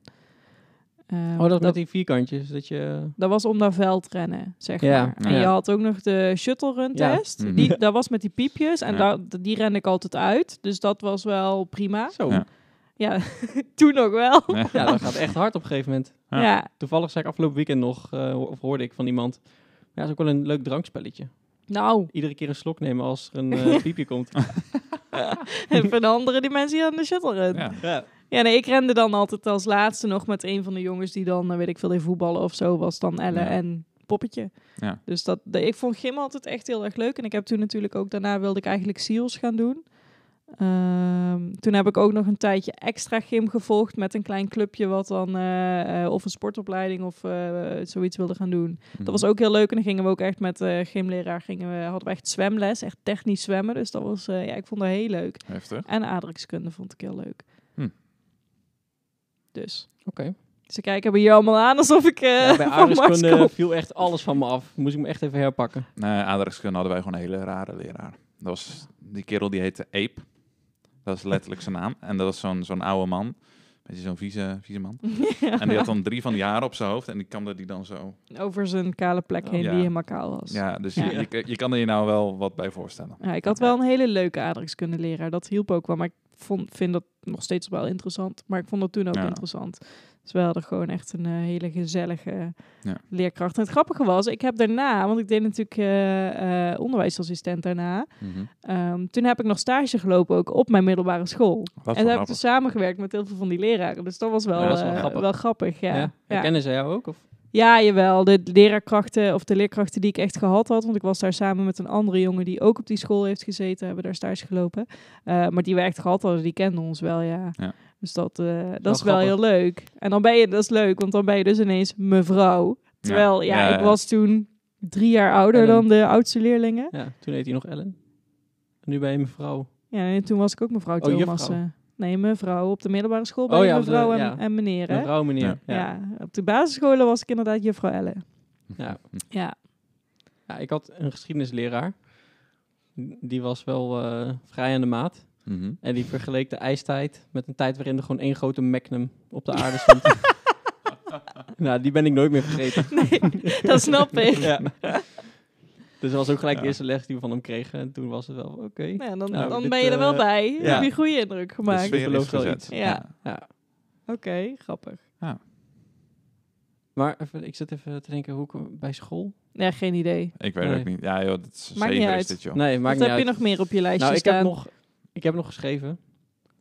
Eh, Oh, dat met die vierkantjes. Dat je... dat was om naar veld rennen, zeg Ja. maar. En Ja. je had ook nog de shuttle run Ja. test. Mhm. Die, dat was met die piepjes en Ja. daar- d- die rende ik altijd uit. Dus dat was wel prima. Zo. Ja. Ja. Ja, toen ook wel. ja, dat gaat echt hard op een gegeven moment. Ja. Ja, Toevallig zei ik afgelopen weekend nog, eh, ho- of hoorde ik van iemand... Ja, is ook wel een leuk drankspelletje. nou. Iedere keer een slok nemen als er een eh, piepje komt. En van de andere dimensie aan de shuttle run. Ja, Ja. Ja. nee, ik rende dan altijd als laatste nog met een van de jongens die dan, eh, weet ik veel, in voetballen of zo was. Dan Elle Ja. en Poppetje. Ja. Dus dat, de- ik vond gym altijd echt heel erg leuk. En ik heb toen natuurlijk ook, daarna wilde ik eigenlijk SEALS gaan doen. Ehm, toen heb ik ook nog een tijdje extra gym gevolgd met een klein clubje wat dan eh, eh, of een sportopleiding of eh, zoiets wilde gaan doen. Dat Mhm. was ook heel leuk en dan gingen we ook echt met eh gymleraar, gingen we, hadden we echt zwemles, echt technisch zwemmen. Dus dat was, eh, ja, ik vond dat heel leuk. Heftig. En aardrijkskunde vond ik heel leuk. Hm. Dus. Oké. Ze kijken bij jou allemaal aan alsof ik eh Ja, bij van Mars kom. aardrijkskunde viel echt alles van me af. Moest ik me echt even herpakken. Nee, aardrijkskunde hadden wij gewoon een hele rare leraar. Dat was, die kerel die heette Ape. Dat is letterlijk zijn naam. En dat was zo'n zo'n oude man. Beetje zo'n vieze, vieze man. En die had dan drie van die jaren op zijn hoofd. En die kamde die dan zo. Over zijn kale plek heen Ja. die helemaal kaal was. Ja. Ja, dus Ja. Je, je, je kan er je nou wel wat bij voorstellen. ik had wel een hele leuke aardrijkskundeleraar. Dat hielp ook wel, maar ik vond, vind dat nog steeds wel interessant. Maar ik vond dat toen ook Ja. interessant. Dus we hadden gewoon echt een eh, hele gezellige Ja. leerkracht. En het grappige was, ik heb daarna, want ik deed natuurlijk eh, eh, onderwijsassistent daarna. Ehm, toen heb ik nog stage gelopen ook op mijn middelbare school. Wat en daar voor heb ik grappig. dus samengewerkt met heel veel van die leraren. Dus dat was wel, Ja, dat is wel eh, grappig. wel grappig. Ja, Ja. ja. Herkennen zij jou ook? Of? Ja, jawel. De leraarkrachten of de leerkrachten die ik echt gehad had. Want ik was daar samen met een andere jongen die ook op die school heeft gezeten. Hebben daar stage gelopen. Eh, maar die we echt gehad hadden, die kenden ons wel, ja. Ja. Dus dat, eh, dat Wel is wel grappig. heel leuk. En dan ben je, dat is leuk, want dan ben je dus ineens mevrouw. Terwijl, ja, Ja, ik ja. was toen drie jaar ouder En dan- dan de oudste leerlingen. Ja, toen heet hij nog Ellen. En nu ben je mevrouw. Ja, en toen was ik ook mevrouw Oh, Thomas. juffrouw. eh. nee, mevrouw. Op de middelbare school ben Oh je ja, op de- mevrouw en, ja. en meneer, hè? Mevrouw, meneer. Ja. Ja. Ja. op de basisscholen was ik inderdaad juffrouw Elle. Ja. Ja. ik had een geschiedenisleraar. Die was wel eh, vrij aan de maat. Mhm. En die vergeleek de ijstijd met een tijd waarin er gewoon één grote magnum op de aarde stond. nou, die ben ik nooit meer vergeten. Nee, dat snap ik. ja. Dus dat was ook gelijk Ja. de eerste les die we van hem kregen. En toen was het wel oké. Nou, dan, Nou, dan dit, ben je er wel eh, bij. ja. Dus Heb je goede indruk De gemaakt. ik sfeer is geloof wel gezet. iets. Ja. Oké, grappig. Maar even, ik zit even te denken, hoe kom- bij school? Ja, geen idee. Ik weet Nee. ook niet. Ja, joh, dat is Maakt niet zeven uit. is dit, joh. Nee, maakt Wat niet heb uit. je nog meer op je lijstje nou, ik staan? heb, nog, ik heb nog geschreven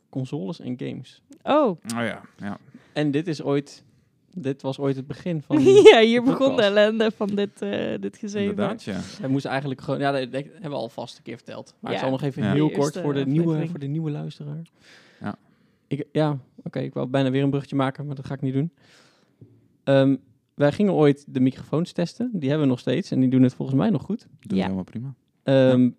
consoles en games. Oh, Oh ja, ja. En dit is ooit, dit was ooit het begin van... ja, hier de begon de podcast. ellende van dit, eh dit gezeven. inderdaad, ja. Hij moest eigenlijk gewoon, ja, dat, dat hebben we al vast een keer verteld. Maar ik Ja. zal nog even Ja. heel Die kort eerste voor de, aflevering. nieuwe, voor de nieuwe luisteraar. Ja. Ik, ja, oké, ik wou bijna weer een bruggetje maken, maar dat ga ik niet doen. Ehm, wij gingen ooit de microfoons testen. Die hebben we nog steeds en die doen het volgens mij nog goed. Doe Ja. helemaal prima. Ehm,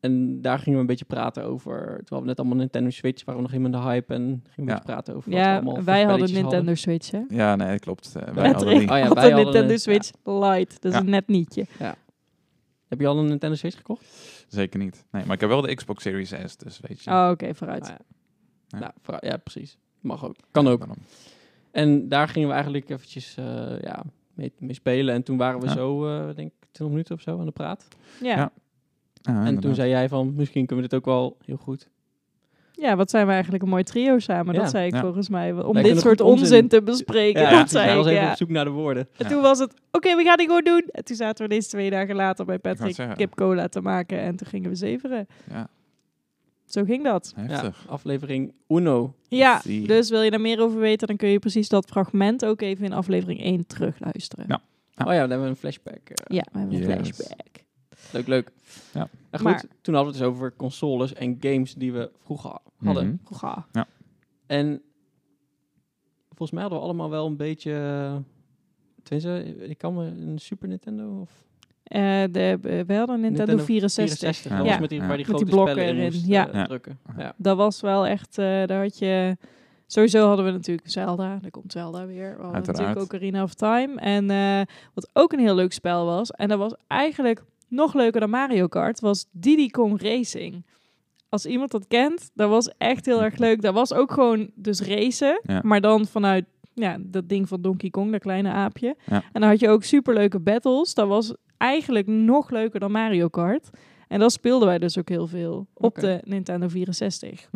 En daar gingen we een beetje praten over. Terwijl we net allemaal Nintendo Switch waren, we nog helemaal in de hype. En gingen we een Ja. beetje praten over. wat we Ja, allemaal voor wij hadden spelletjes Nintendo Switch, hè? Ja, nee, klopt. Eh, wij Patrick hadden die. Oh ja, had wij een hadden Nintendo een- Switch Lite. Dat is Ja. een net nietje. Heb je al een Nintendo Switch gekocht? Zeker niet. Nee, maar ik heb wel de Xbox Series S, dus weet je. Oh, oké, vooruit. Ah, ja. Ja. Nou, vooruit- ja, precies. Mag ook. Kan ook. Daarom. En daar gingen we eigenlijk eventjes eh, ja, mee, mee spelen. En toen waren we Ja. zo, eh, denk ik, 20 minuten of zo aan de praat. Ja. Ja. Ja. Ja, en toen Ah, inderdaad. zei jij van, misschien kunnen we dit ook wel heel goed. wat zijn we eigenlijk een mooi trio samen. Ja. Dat zei ik Ja. volgens mij. Om Wij dit kunnen soort goed onzin- onzin. te bespreken. Ja, dat Hij zei ik, was even ja. op zoek naar de woorden. En Ja. toen was het, oké, we gaan dit gewoon doen. En toen zaten we deze twee dagen later bij wou het Patrick zeggen. kip cola te maken. En toen gingen we zeveren. Ja, Zo ging dat. Ja, heftig. aflevering Uno. Ja, Zie. dus wil je daar meer over weten, dan kun je precies dat fragment ook even in aflevering 1 terugluisteren. Ja. Oh ja, dan hebben we een flashback. eh. Ja, we hebben een Nou, Yes. flashback. Leuk, leuk. Ja. En goed, Maar- toen hadden we het dus over consoles en games die we vroeger hadden. Mhm. Goh, En volgens mij hadden we allemaal wel een beetje... eh, Tenminste, ik kan me een Super Nintendo of eh, de, we hadden Nintendo, Nintendo 64. 64. Ja. dat was Ja. met die, Ja. waar die Met grote die spellen blokken in erin, moest ja. eh, Ja. drukken. Ja. Ja. Dat was wel echt, eh, daar had je... Sowieso hadden we natuurlijk Zelda, daar komt Zelda weer. We hadden Uiteraard. natuurlijk ook Arena of Time. En eh, wat ook een heel leuk spel was, en dat was eigenlijk nog leuker dan Mario Kart was Diddy Kong Racing. Als iemand dat kent, dat was echt heel erg leuk. Dat was ook gewoon dus racen, Ja. maar dan vanuit ja, dat ding van Donkey Kong, dat kleine aapje. Ja. En dan had je ook superleuke battles. Dat was eigenlijk nog leuker dan Mario Kart. En dat speelden wij dus ook heel veel op Oké. de Nintendo 64.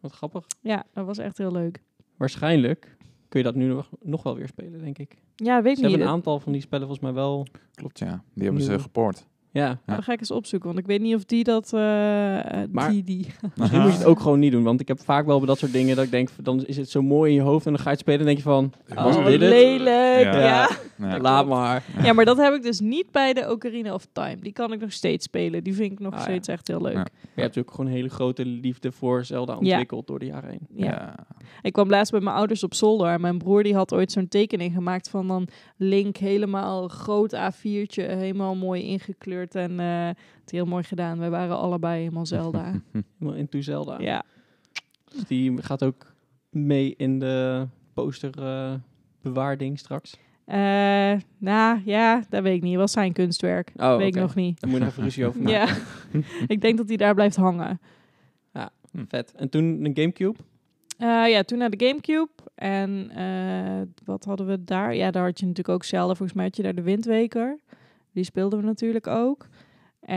Wat grappig. Ja, dat was echt heel leuk. Waarschijnlijk kun je dat nu nog, nog wel weer spelen, denk ik. Ja, weet Ze niet. hebben een aantal van die spellen volgens mij wel... Klopt, ja. Die hebben ze Nieuwe. gepoord. Ja, Ja. Dan ga ik eens opzoeken, want ik weet niet of die dat... eh, eh, Maar- die, die. misschien moet je het ook gewoon niet doen. Want ik heb vaak wel bij dat soort dingen dat ik denk... dan is het zo mooi in je hoofd en dan ga je het spelen en denk je van... Was Oh, dit het? lelijk. Ja. ja. Ja. laat maar. Ja, maar dat heb ik dus niet bij de Ocarina of Time. Die kan ik nog steeds spelen. Die vind ik nog Ah, ja. steeds echt heel leuk. Ja. Ja. Maar je hebt natuurlijk gewoon een hele grote liefde voor Zelda ontwikkeld door de jaren heen. Ja. Ik kwam laatst bij mijn ouders op zolder. En mijn broer die had ooit zo'n tekening gemaakt van dan Link helemaal groot A4'tje. Helemaal mooi ingekleurd. En eh het heel mooi gedaan. Wij waren allebei helemaal Zelda. Helemaal into Zelda. ja. Dus die gaat ook mee in de poster eh, bewaarding straks. Eh, nou ja, dat weet ik niet. Was zijn kunstwerk. Oh, weet ik oké. nou. nog niet. Daar moet je nog even ruzie over maken. Ja. ik denk dat hij daar blijft hangen. Vet. En toen een Gamecube. Eh, ja, toen naar de Gamecube. En eh, wat hadden we daar? Ja, daar had je natuurlijk ook Zelda. Volgens mij had je daar de Windweker. Die speelden we natuurlijk ook.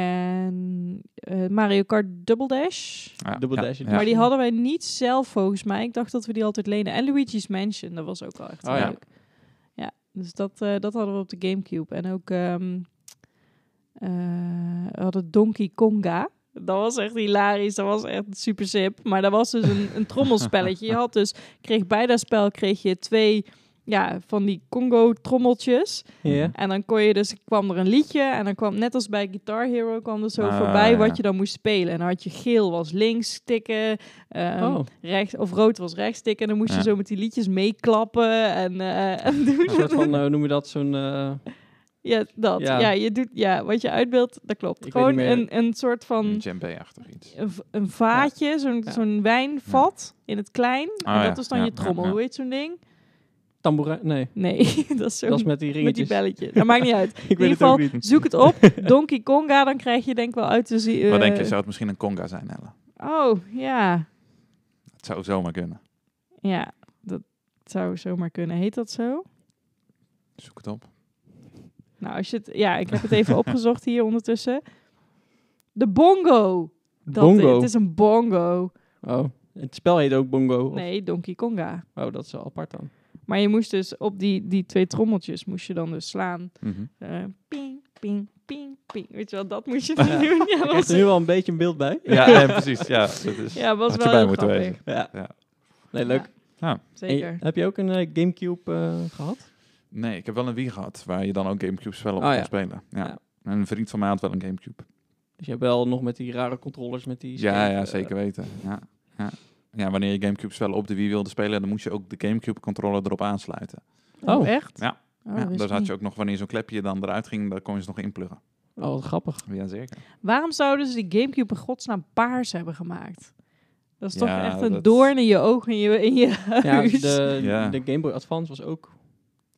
En eh, Mario Kart Double Dash. Ja. Double Ja. dash. Ja. Maar die hadden wij niet zelf volgens mij. Ik dacht dat we die altijd lenen. En Luigi's Mansion, dat was ook wel echt Oh, heel ja. leuk. Ja. dus dat, eh, dat hadden we op de Gamecube. En ook ehm, eh, we hadden Donkey Konga. Dat was echt hilarisch. Dat was echt super sip. Maar dat was dus een, een trommelspelletje. Je had dus, kreeg bij dat spel kreeg je twee ja, van die Congo-trommeltjes. Ja. En dan kon je dus, kwam er een liedje en dan kwam net als bij Guitar Hero kwam er zo Ah, voorbij ja. wat je dan moest spelen. En dan had je geel was links tikken, ehm, Oh, rechts, of rood was rechts tikken. En dan moest Ja. je zo met die liedjes meeklappen en, eh, en een soort doen. van, eh, hoe noem je dat, zo'n... eh, Ja, dat. Ja. Ja. je doet, ja, wat je uitbeeldt, dat klopt. Ik weet Gewoon niet meer. een, een soort Een van djembe-achtig iets. een, v- een vaatje, zo'n Ja. zo'n wijnvat in het klein. Ah, en ja. dat is dan Ja, je trommel. ja, ja. Hoe heet zo'n ding? tamboerijn? Nee, Nee, dat is zo dat is met die met ringetjes. die belletjes. Dat maakt niet uit. Ik In weet ieder het ook geval, niet. zoek het op. Donkey Konga, dan krijg je denk ik wel uit te zien. Wat denk je, eh, zou het misschien een conga zijn, Ellen? Oh, ja. Het zou zomaar kunnen. Ja, dat zou zomaar kunnen. Heet dat zo? Zoek het op. Nou, als je het... Ja, ik heb het even opgezocht hier ondertussen. De bongo. Dat eh, bongo. Het is een bongo. Oh, het spel heet ook bongo. of- Nee, Donkey Konga. Oh, dat is wel apart dan. Maar je moest dus op die, die twee trommeltjes moest je dan dus slaan. Mhm. Eh, ping, ping, ping, ping. Weet je wel, dat moest je dan doen. Ja, dat Ik heb was, er nu al een beetje een beeld bij. Ja, eh, precies. Ja, dat is, ja, dat was Had je wel bij heel moeten grappig. wezen. Ja. Ja. Nee, leuk. Ja, Ja. En je- Zeker. heb je ook een eh, Gamecube eh, gehad? Nee, ik heb wel een Wii gehad waar je dan ook Gamecube-spellen op Oh, kon ja. spelen. Ja. Ja. En een vriend van mij had wel een Gamecube. Dus je hebt wel nog met die rare controllers, met die... Ja, scheef, ja, eh, zeker weten. Ja. Ja. ja, wanneer je Gamecube-spellen op de Wii wilde spelen, dan moest je ook de Gamecube-controller erop aansluiten. Oh. echt? Ja. Oh, ja, wist ik dus niet. had je ook nog, wanneer zo'n klepje dan eruit ging, daar kon je ze nog inpluggen. Oh, wat grappig. Jazeker. Waarom zouden ze die Gamecube in godsnaam paars hebben gemaakt? Dat is toch Ja, echt een dat- doorn in je ogen, in je, in je Ja, huis. de, Ja. de Game Boy Advance was ook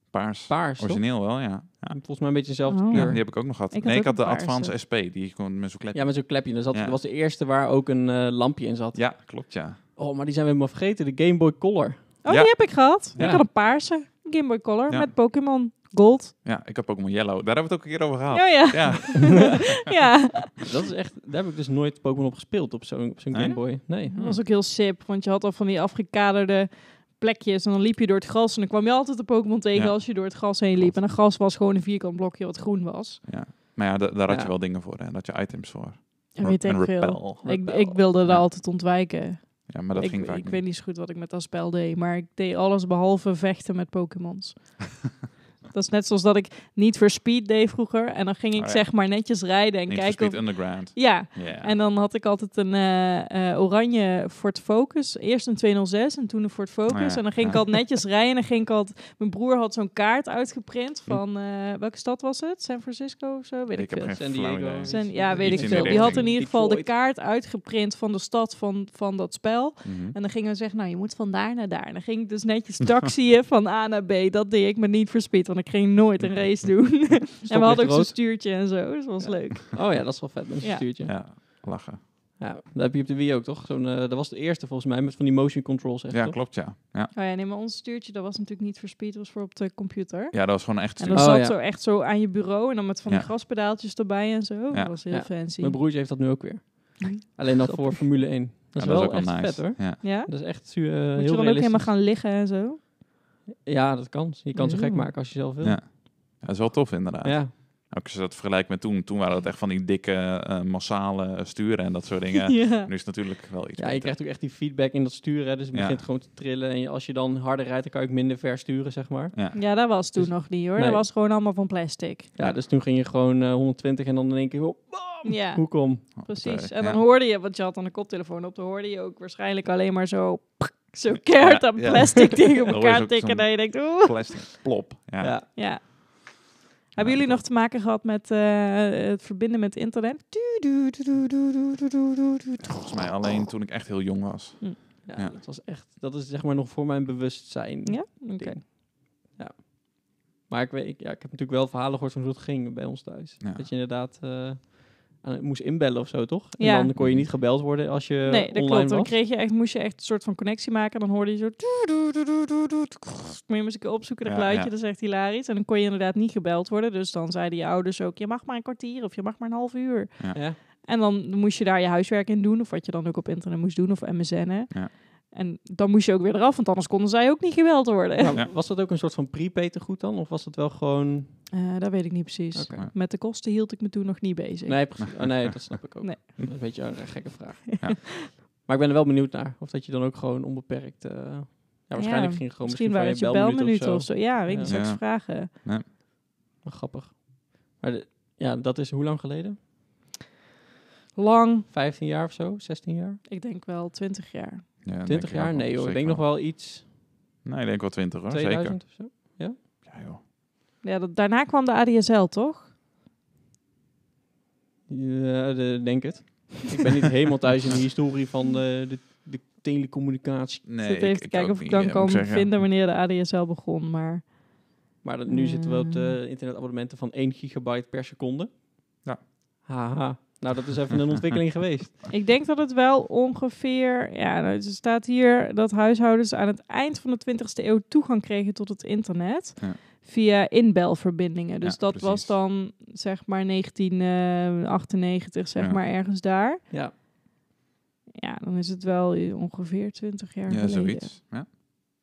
Paars. paars, toch? Origineel wel, ja. ja. Volgens mij een beetje dezelfde Oh. Ja, kleur. die heb ik ook nog gehad. Ik had nee, ik ook had de een paarse. Advance SP, die kon met zo'n klepje. Ja, met zo'n klepje. Dus Dat zat, Ja. dat was de eerste waar ook een eh, lampje in zat. Ja, klopt, ja. Oh, maar die zijn we helemaal vergeten. De Game Boy Color. Oh, Ja. die heb ik gehad. Ja. Ik had een paarse Game Boy Color Ja. met Pokémon Gold. Ja, ik heb Pokémon Yellow. Daar hebben we het ook een keer over gehad. Ja, ja. Ja. ja. Dat is echt... Daar heb ik dus nooit Pokémon op gespeeld, op zo'n op zo'n Nee? Game Boy. Nee. Dat was ook heel sip, want je had al van die afgekaderde plekjes. En dan liep je door het gras en dan kwam je altijd de Pokémon tegen Ja. als je door het gras heen liep. En dat gras was gewoon een vierkant blokje wat groen was. Maar ja, da- daar had je Ja. wel dingen voor. Hè. Daar had je items voor. En Re- weet en ik veel. repel. Ik, Repel. ik wilde dat Ja. altijd ontwijken. Ja, maar dat ik ging vaak ik niet. weet niet zo goed wat ik met dat spel deed, maar ik deed alles behalve vechten met Pokémons. dat is net zoals dat ik niet voor speed deed vroeger. En dan ging ik Oh ja. zeg maar netjes rijden en Need for kijken Speed of... Underground. Ja, Ja. en dan had ik altijd een eh, eh, oranje Ford Focus. Eerst een 206 en toen een Ford Focus. Oh ja, En dan ging ik ja. altijd netjes rijden. En dan ging ik altijd... Mijn broer had zo'n kaart uitgeprint van... eh, welke stad was het? San Francisco of zo? Weet ik, Hm. Ik heb veel. geen San flauw Diego. idee. San- Iets- ja, weet iets ik in die veel. Die had in richting. ieder geval de Detroit. kaart uitgeprint van de stad van, van dat spel. Mhm. En dan gingen we zeggen, nou, je moet van daar naar daar. En dan ging ik dus netjes taxiën van A naar B. Dat deed ik, maar niet voor speed. Want ik ging nooit een race doen. en we hadden ook zo'n rood. stuurtje en zo. Dus dat was leuk. Oh ja, dat is wel vet. Een Ja. stuurtje. Ja. Ja, lachen. dat heb je op de Wii ook, toch? Zo'n, eh, dat was de eerste volgens mij, met van die motion controls. Echt, Ja, toch? klopt, ja. ja. Oh ja, nee, maar ons stuurtje, dat was natuurlijk niet voor speed, dat was voor op de computer. Ja, dat was gewoon echt En super. dat Oh, zat ja. zo echt zo aan je bureau en dan met van die Ja. graspedaaltjes erbij en zo. Dat was heel Ja. fancy. Mijn broertje heeft dat nu ook weer. Alleen dan voor Formule 1. Dat is Ja, wel ook echt vet, hoor. Ja. Ja? Dat is echt eh, heel Moet je dan ook realistisch. helemaal gaan liggen en zo? Ja, dat kan. Je kan ze Ja. gek maken als je zelf wil. Ja. Ja. Ja, dat is wel tof inderdaad. Ook als je dat vergelijkt met toen. Toen waren dat echt van die dikke eh, massale eh, sturen en dat soort dingen. ja. Nu is het natuurlijk wel iets Ja, je beter. krijgt ook echt die feedback in dat sturen. hè. Dus het Ja. begint gewoon te trillen. En je- als je dan harder rijdt, dan kan je ook minder ver sturen, zeg maar. Ja, dat was toen Dus- nog niet hoor. Nee. Dat was gewoon allemaal van plastic. Ja, dus toen ging je gewoon eh, 120 en dan in één keer... Oh, bam, Ja. Hoe kom? Oh, Precies. oké, En ja. dan hoorde je, want je had dan een koptelefoon op, dan hoorde je ook waarschijnlijk alleen maar zo, zo keert aan ja. plastic tegen Dan hoor je elkaar ook tikken. zo'n- En je denkt, oeh. Plastic plop. Ja. Ja. Ja. Ja. Hebben jullie nog te maken gehad met eh, het verbinden met internet? Du- du- du- du- du- du- du- du- du- du- du- Volgens mij alleen toen ik echt heel jong was. Ja, Ja. Dat, was echt, dat is zeg maar nog voor mijn bewustzijn. Ja, oké. Ding. Ja. Maar ik, weet, ik, ja, ik heb natuurlijk wel verhalen gehoord van hoe het ging bij ons thuis. Ja. Dat je inderdaad eh, aan- moest inbellen of zo, toch? En Ja. dan kon je niet gebeld worden als je Nee, dat eh, online klopt. was. Dan kreeg je echt, moest je echt een soort van connectie maken. En dan hoorde je zo... doe, doe, doe, doe, doe, doe, doe. Moet je eens een keer opzoeken, dat Ja, geluidje. ja. Dat is echt hilarisch. En dan kon je inderdaad niet gebeld worden. Dus dan zeiden je ouders ook... Je mag maar een kwartier of je mag maar een half uur. Ja. En dan moest je daar je huiswerk in doen. Of wat je dan ook op internet moest doen. Of MSN'en. Ja. En dan moest je ook weer eraf. Want anders konden zij ook niet gebeld worden. Nou, Ja. Was dat ook een soort van prepaid goed dan? Of was dat wel gewoon... Eh, dat weet ik niet precies. Oké. Maar- Met de kosten hield ik me toen nog niet bezig. Nee, precies. Oh, nee, dat snap ik ook. Nee. Dat is een beetje een eh, gekke vraag. Ja. Maar ik ben er wel benieuwd naar. Of dat je dan ook gewoon onbeperkt... eh, ja, waarschijnlijk Ja, ging gewoon misschien, Misschien waren van het je je belminuut, belminuut of of zo. Ja, weet ik Ja. niet. Straks Ja. vragen. Maar grappig. Maar de- ja, dat is hoe lang geleden? Lang. 15 jaar of zo? 16 jaar? Ik denk wel 20 jaar. Ja, denk 20 ik jaar? ook Nee joh, ik zeker denk nog wel iets Nee, ik denk wel 20 hoor, 2000 of zo. zeker. Ja, joh. Ja, dat, daarna kwam de ADSL, toch? Ja, de- denk het. ik ben niet helemaal thuis in de historie van eh, de, de telecommunicatie. Nee, ik zit even te kijken of ik eh, dan kan vinden wanneer de ADSL begon. Maar Maar dat- nu zitten we op de Eh. internetabonnementen van 1 gigabyte per seconde. Mm. Ja. Haha. Nou, dat is even een ontwikkeling geweest. ik denk dat het wel ongeveer... Ja, nou, er staat hier dat huishoudens aan het eind van de 20e eeuw toegang kregen tot het internet. Ja. Via inbelverbindingen. Dus Ja, dat precies. was dan zeg maar 1998, zeg Ja. maar ergens daar. Ja. Ja, dan is het wel eh, ongeveer 20 jaar Ja, geleden. zoiets. Ja,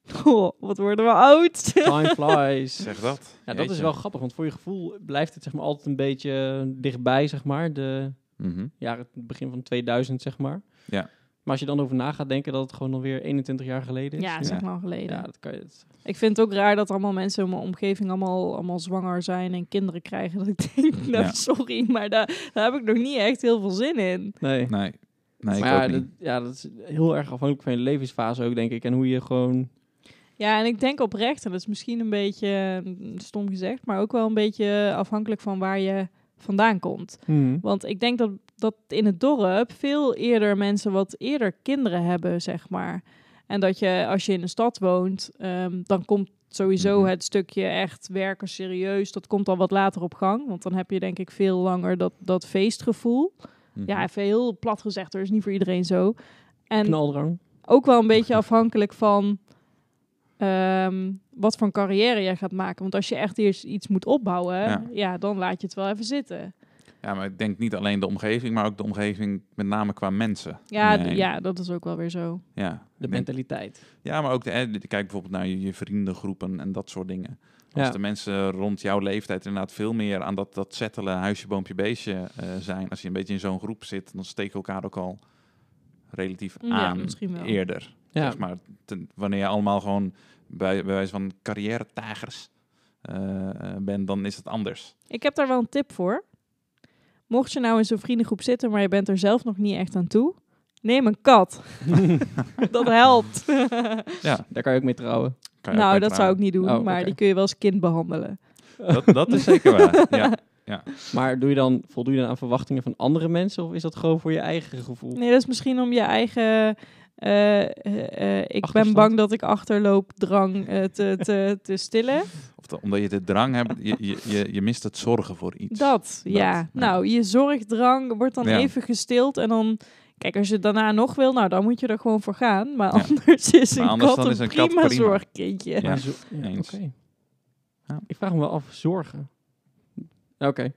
Goh, wat worden we oud. Time flies. zeg dat. Ja, dat is Jeetje. wel grappig, want voor je gevoel blijft het zeg maar altijd een beetje eh, dichtbij, zeg maar. De Mhm. jaren, het begin van 2000, zeg maar. Ja. Maar als je dan over na gaat denken dat het gewoon alweer 21 jaar geleden is. Ja, dat is echt lang geleden. Ja, dat kan je. dat- Ik vind het ook raar dat allemaal mensen in mijn omgeving allemaal, allemaal zwanger zijn en kinderen krijgen. Dat ik denk, nou Ja. sorry, maar daar, daar heb ik nog niet echt heel veel zin in. Nee. Nee, nee maar ik ja, ook dat, niet. ja, dat is heel erg afhankelijk van je levensfase ook, denk ik. En hoe je gewoon... Ja, en ik denk oprecht, en dat is misschien een beetje mm, stom gezegd, maar ook wel een beetje afhankelijk van waar je vandaan komt. Want ik denk dat, dat in het dorp veel eerder mensen wat eerder kinderen hebben, zeg maar. En dat je, als je in een stad woont, ehm, dan komt sowieso Mhm. het stukje echt werken serieus. Dat komt al wat later op gang. Want dan heb je denk ik veel langer dat, dat feestgevoel. Mhm. Ja, even heel plat gezegd, er is niet voor iedereen zo. En Knaldrang. ook wel een beetje afhankelijk van ehm, wat voor een carrière jij gaat maken. Want als je echt eerst iets moet opbouwen, Ja. ja, dan laat je het wel even zitten. Ja, maar ik denk niet alleen de omgeving, maar ook de omgeving met name qua mensen. Ja, Nee. d- ja, dat is ook wel weer zo. Ja, De Ik denk- mentaliteit. ja maar ook, de, hè, kijk bijvoorbeeld naar je, je vriendengroepen en dat soort dingen. Als Ja. de mensen rond jouw leeftijd inderdaad veel meer aan dat, dat settelen, huisje, boompje, beestje eh, zijn. Als je een beetje in zo'n groep zit, dan steken elkaar ook al relatief Mm, Ja, aan misschien wel. eerder. Ja. Zeg maar, ten- wanneer je allemaal gewoon bij, bij wijze van carrière-tagers eh, eh, bent, dan is het anders. Ik heb daar wel een tip voor. Mocht je nou in zo'n vriendengroep zitten, maar je bent er zelf nog niet echt aan toe, neem een kat. dat helpt. Ja, Daar kan je ook mee trouwen. kan je ook nou, mee dat zou ik niet doen, Oh, maar oké. die kun je wel als kind behandelen. trouwen. dat, dat is zeker waar. Ja. Maar doe je dan, voldoe je dan aan verwachtingen van andere mensen? Of is dat gewoon voor je eigen gevoel? Nee, dat is misschien om je eigen eh, eh, eh, ik ben Achterstand. bang dat ik achterloopdrang eh, te, te, te stillen. Of dat- omdat je de drang hebt, je, je, je, je mist het zorgen voor iets. Dat, ja. ja. Nou, je zorgdrang wordt dan Ja. even gestild en dan... Kijk, als je het daarna nog wil, nou, dan moet je er gewoon voor gaan. Maar Ja. anders is een Maar anders kat dan een, is een kat prima, prima. zorgkindje. Ja, Maar zo- ja, eens. oké. Ja. Ik vraag me wel af, zorgen. Oké.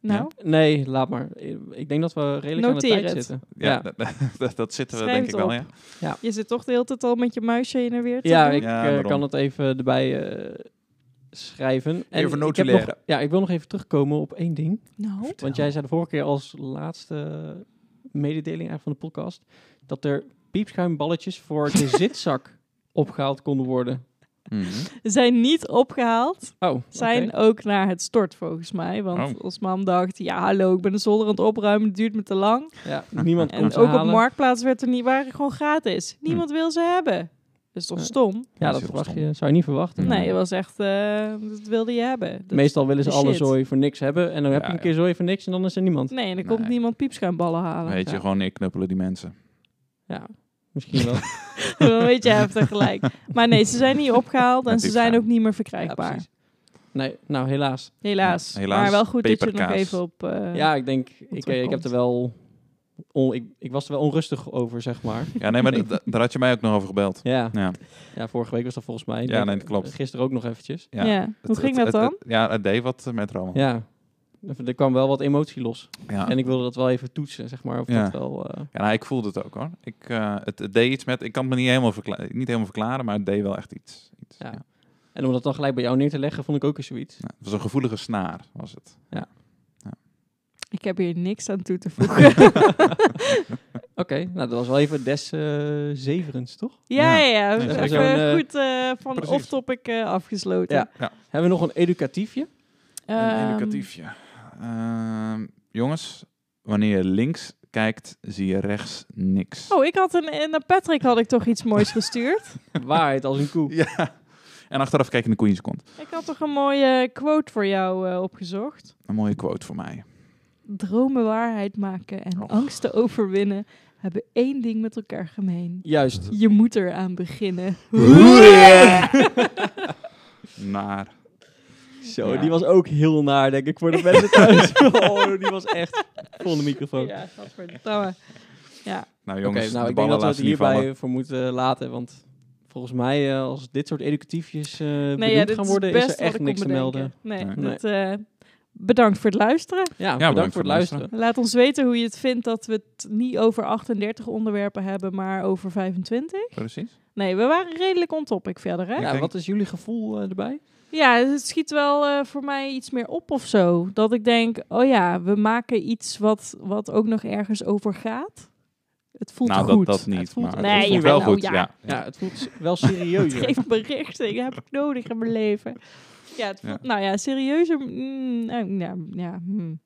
Nou, Nee, laat maar. Ik denk dat we redelijk Noteer aan de tijd het. zitten. Ja, dat, dat, dat zitten we Schrijf denk ik het wel, op. ja. je zit toch de hele tijd al met je muisje heen en weer te Ja, doen? ik Ja, eh, daarom. kan het even erbij eh, schrijven. En Even ik, heb notuleren. nog, ja, ik wil nog even terugkomen op één ding. Nou, Want jij zei de vorige keer als laatste mededeling eigenlijk van de podcast... dat er piepschuimballetjes voor de zitzak opgehaald konden worden. Mhm. zijn niet opgehaald. Oh, Zijn oké. ook naar het stort, volgens mij. Oh. Want ons mam dacht, ja, hallo, ik ben de zolder aan het opruimen. Het duurt me te lang. Ja, niemand Ah. En kon ze ook op halen. Marktplaats werd er niet, waren gewoon gratis. Niemand wil ze hebben. Dat is toch Ja. Ja, stom? Dat dat is heel verwacht stom. je, zou je niet verwachten. Ja. Nee, dat was echt, eh, dat wilde je hebben. Dat- Meestal willen ze de alle shit. zooi voor niks hebben. En dan heb Ja, je een ja. keer zooi voor niks en dan is er niemand. Nee, en dan komt Nee. niemand piepschuimballen halen. Weet je, Ja. gewoon neerknuppelen die mensen. Ja, misschien wel. Dan weet je, hij heeft er gelijk. Maar nee, ze zijn niet opgehaald en Met ze die zijn vraag. ook niet meer ja, verkrijgbaar. precies. Nee, nou helaas. helaas. Ja, helaas. Maar wel goed dat je het nog Peperkaas. even op... eh, ja, ik denk, ik, eh, ik heb terugkomt. er wel... on- ik, ik was er wel onrustig over, zeg maar. Ja, nee, maar da- daar had je mij ook nog over gebeld. Ja, Ja, ja vorige week was dat volgens mij. Ik Ja, denk, eh, nee, dat klopt. Gisteren ook nog eventjes. ja. Ja, Het- Hoe ging het- dat het- dan? het- ja, het deed wat met Roman. Ja, er er kwam wel wat emotie los. Ja. En ik wilde dat wel even toetsen, zeg maar. Of Ja. dat wel... eh, Ja, nou, ik voelde het ook hoor. Ik, eh, het, het deed iets met. Ik kan het me niet helemaal, verkla- niet helemaal verklaren, maar het deed wel echt iets. iets ja. Ja. En om dat dan gelijk bij jou neer te leggen, vond ik ook eens zoiets. Ja, het was een gevoelige snaar, was het. Ik heb hier niks aan toe te voegen. Oké, nou dat was wel even des eh, zeverens, toch? ja, ja, ja. Nee, Even zo'n, eh, goed eh, van precies. off-topic eh, afgesloten. Ja. Hebben we nog een educatiefje? een Ehm, educatiefje. Ehm, jongens, wanneer je links kijkt, zie je rechts niks. Oh, ik had een... eh, Naar Patrick had ik toch iets moois gestuurd. Waarheid als een koe. Ja. En achteraf kijk je in de koeien seconde. ik had toch een mooie quote voor jou eh, opgezocht. Een mooie quote voor mij. dromen waarheid maken en Oh. Och. angsten overwinnen hebben één ding met elkaar gemeen. Juist. Je moet eraan beginnen. Naar. Zo, Ja. die was ook heel naar, denk ik, voor de mensen thuis. oh, die was echt vol de microfoon. Oké, Ja, gadverdamme. Ja, Nou jongens, nou, de ik denk ballen dat we laat het ze niet vallen. hierbij eh, voor moeten laten, want volgens mij eh, als dit soort educatiefjes eh nee, benoemd ja, dit gaan is worden, is, best er echt wat ik niks kon te melden. bedenken. Nee, Nee. dat, eh, bedankt voor het luisteren. Ja, bedankt, bedankt voor voor het het luisteren. Laat ons weten hoe je het vindt dat we het niet over 38 onderwerpen hebben, maar over 25. Precies. Nee, we waren redelijk on topic verder, hè? Ja, Ik denk- wat is jullie gevoel eh, erbij? Ja, het schiet wel eh, voor mij iets meer op of zo. Dat ik denk, oh ja, we maken iets wat, wat ook nog ergens over gaat. Het voelt nou, goed. dat, dat niet. Het voelt- maar Nee, het voelt ja, wel nou, goed. ja. Ja. Ja, Ja. het voelt wel serieus. Het geeft me richting, heb ik nodig in mijn leven. Ja, het voelt, Ja. nou ja, serieuzer. mm, nou, ja, ja, hmm.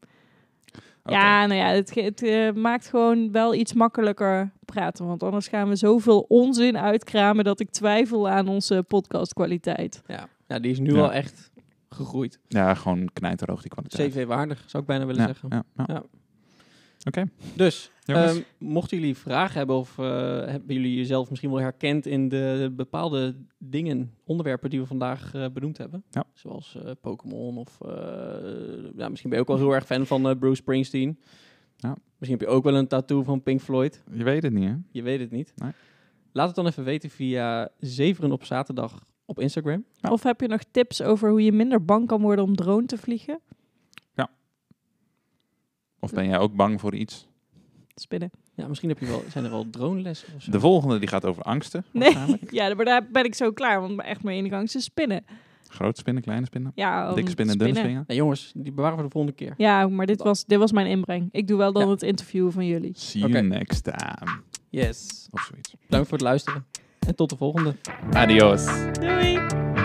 Oké. ja, nou ja, het, ge- het eh, maakt gewoon wel iets makkelijker praten. Want anders gaan we zoveel onzin uitkramen dat ik twijfel aan onze podcastkwaliteit. ja. ja, die is nu Ja. al echt gegroeid. Ja, gewoon knijterhoog die kwaliteit. CV-waardig, zou ik bijna willen ja, zeggen. ja, ja. Ja. Oké, Dus, jongens. ehm, mochten jullie vragen hebben of eh, hebben jullie jezelf misschien wel herkend in de bepaalde dingen, onderwerpen die we vandaag eh, benoemd hebben. Ja. Zoals eh, Pokémon of eh, ja, misschien ben je ook wel heel erg fan van eh, Bruce Springsteen. Ja. Misschien heb je ook wel een tattoo van Pink Floyd. je weet het niet, hè? Je weet het niet. Nee. Laat het dan even weten via Zeveren op zaterdag op Instagram. Ja. Of heb je nog tips over hoe je minder bang kan worden om drone te vliegen? Of ben jij ook bang voor iets? Spinnen. Ja, misschien heb je wel, zijn er wel dronelessen of zo. De volgende die gaat over angsten. Nee, waarschijnlijk. ja, maar daar ben ik zo klaar, want echt mijn enige angst is spinnen. Grote spinnen, kleine spinnen. Ja, om dikke spinnen, te dunne spinnen. Nee, Nou, jongens, die bewaren we de volgende keer. Ja, maar dit was, dit was mijn inbreng. Ik doe wel dan Ja. het interview van jullie. See you Oké. next time. Yes. Of zoiets. Bedankt voor het luisteren. En tot de volgende. Adios. Doei!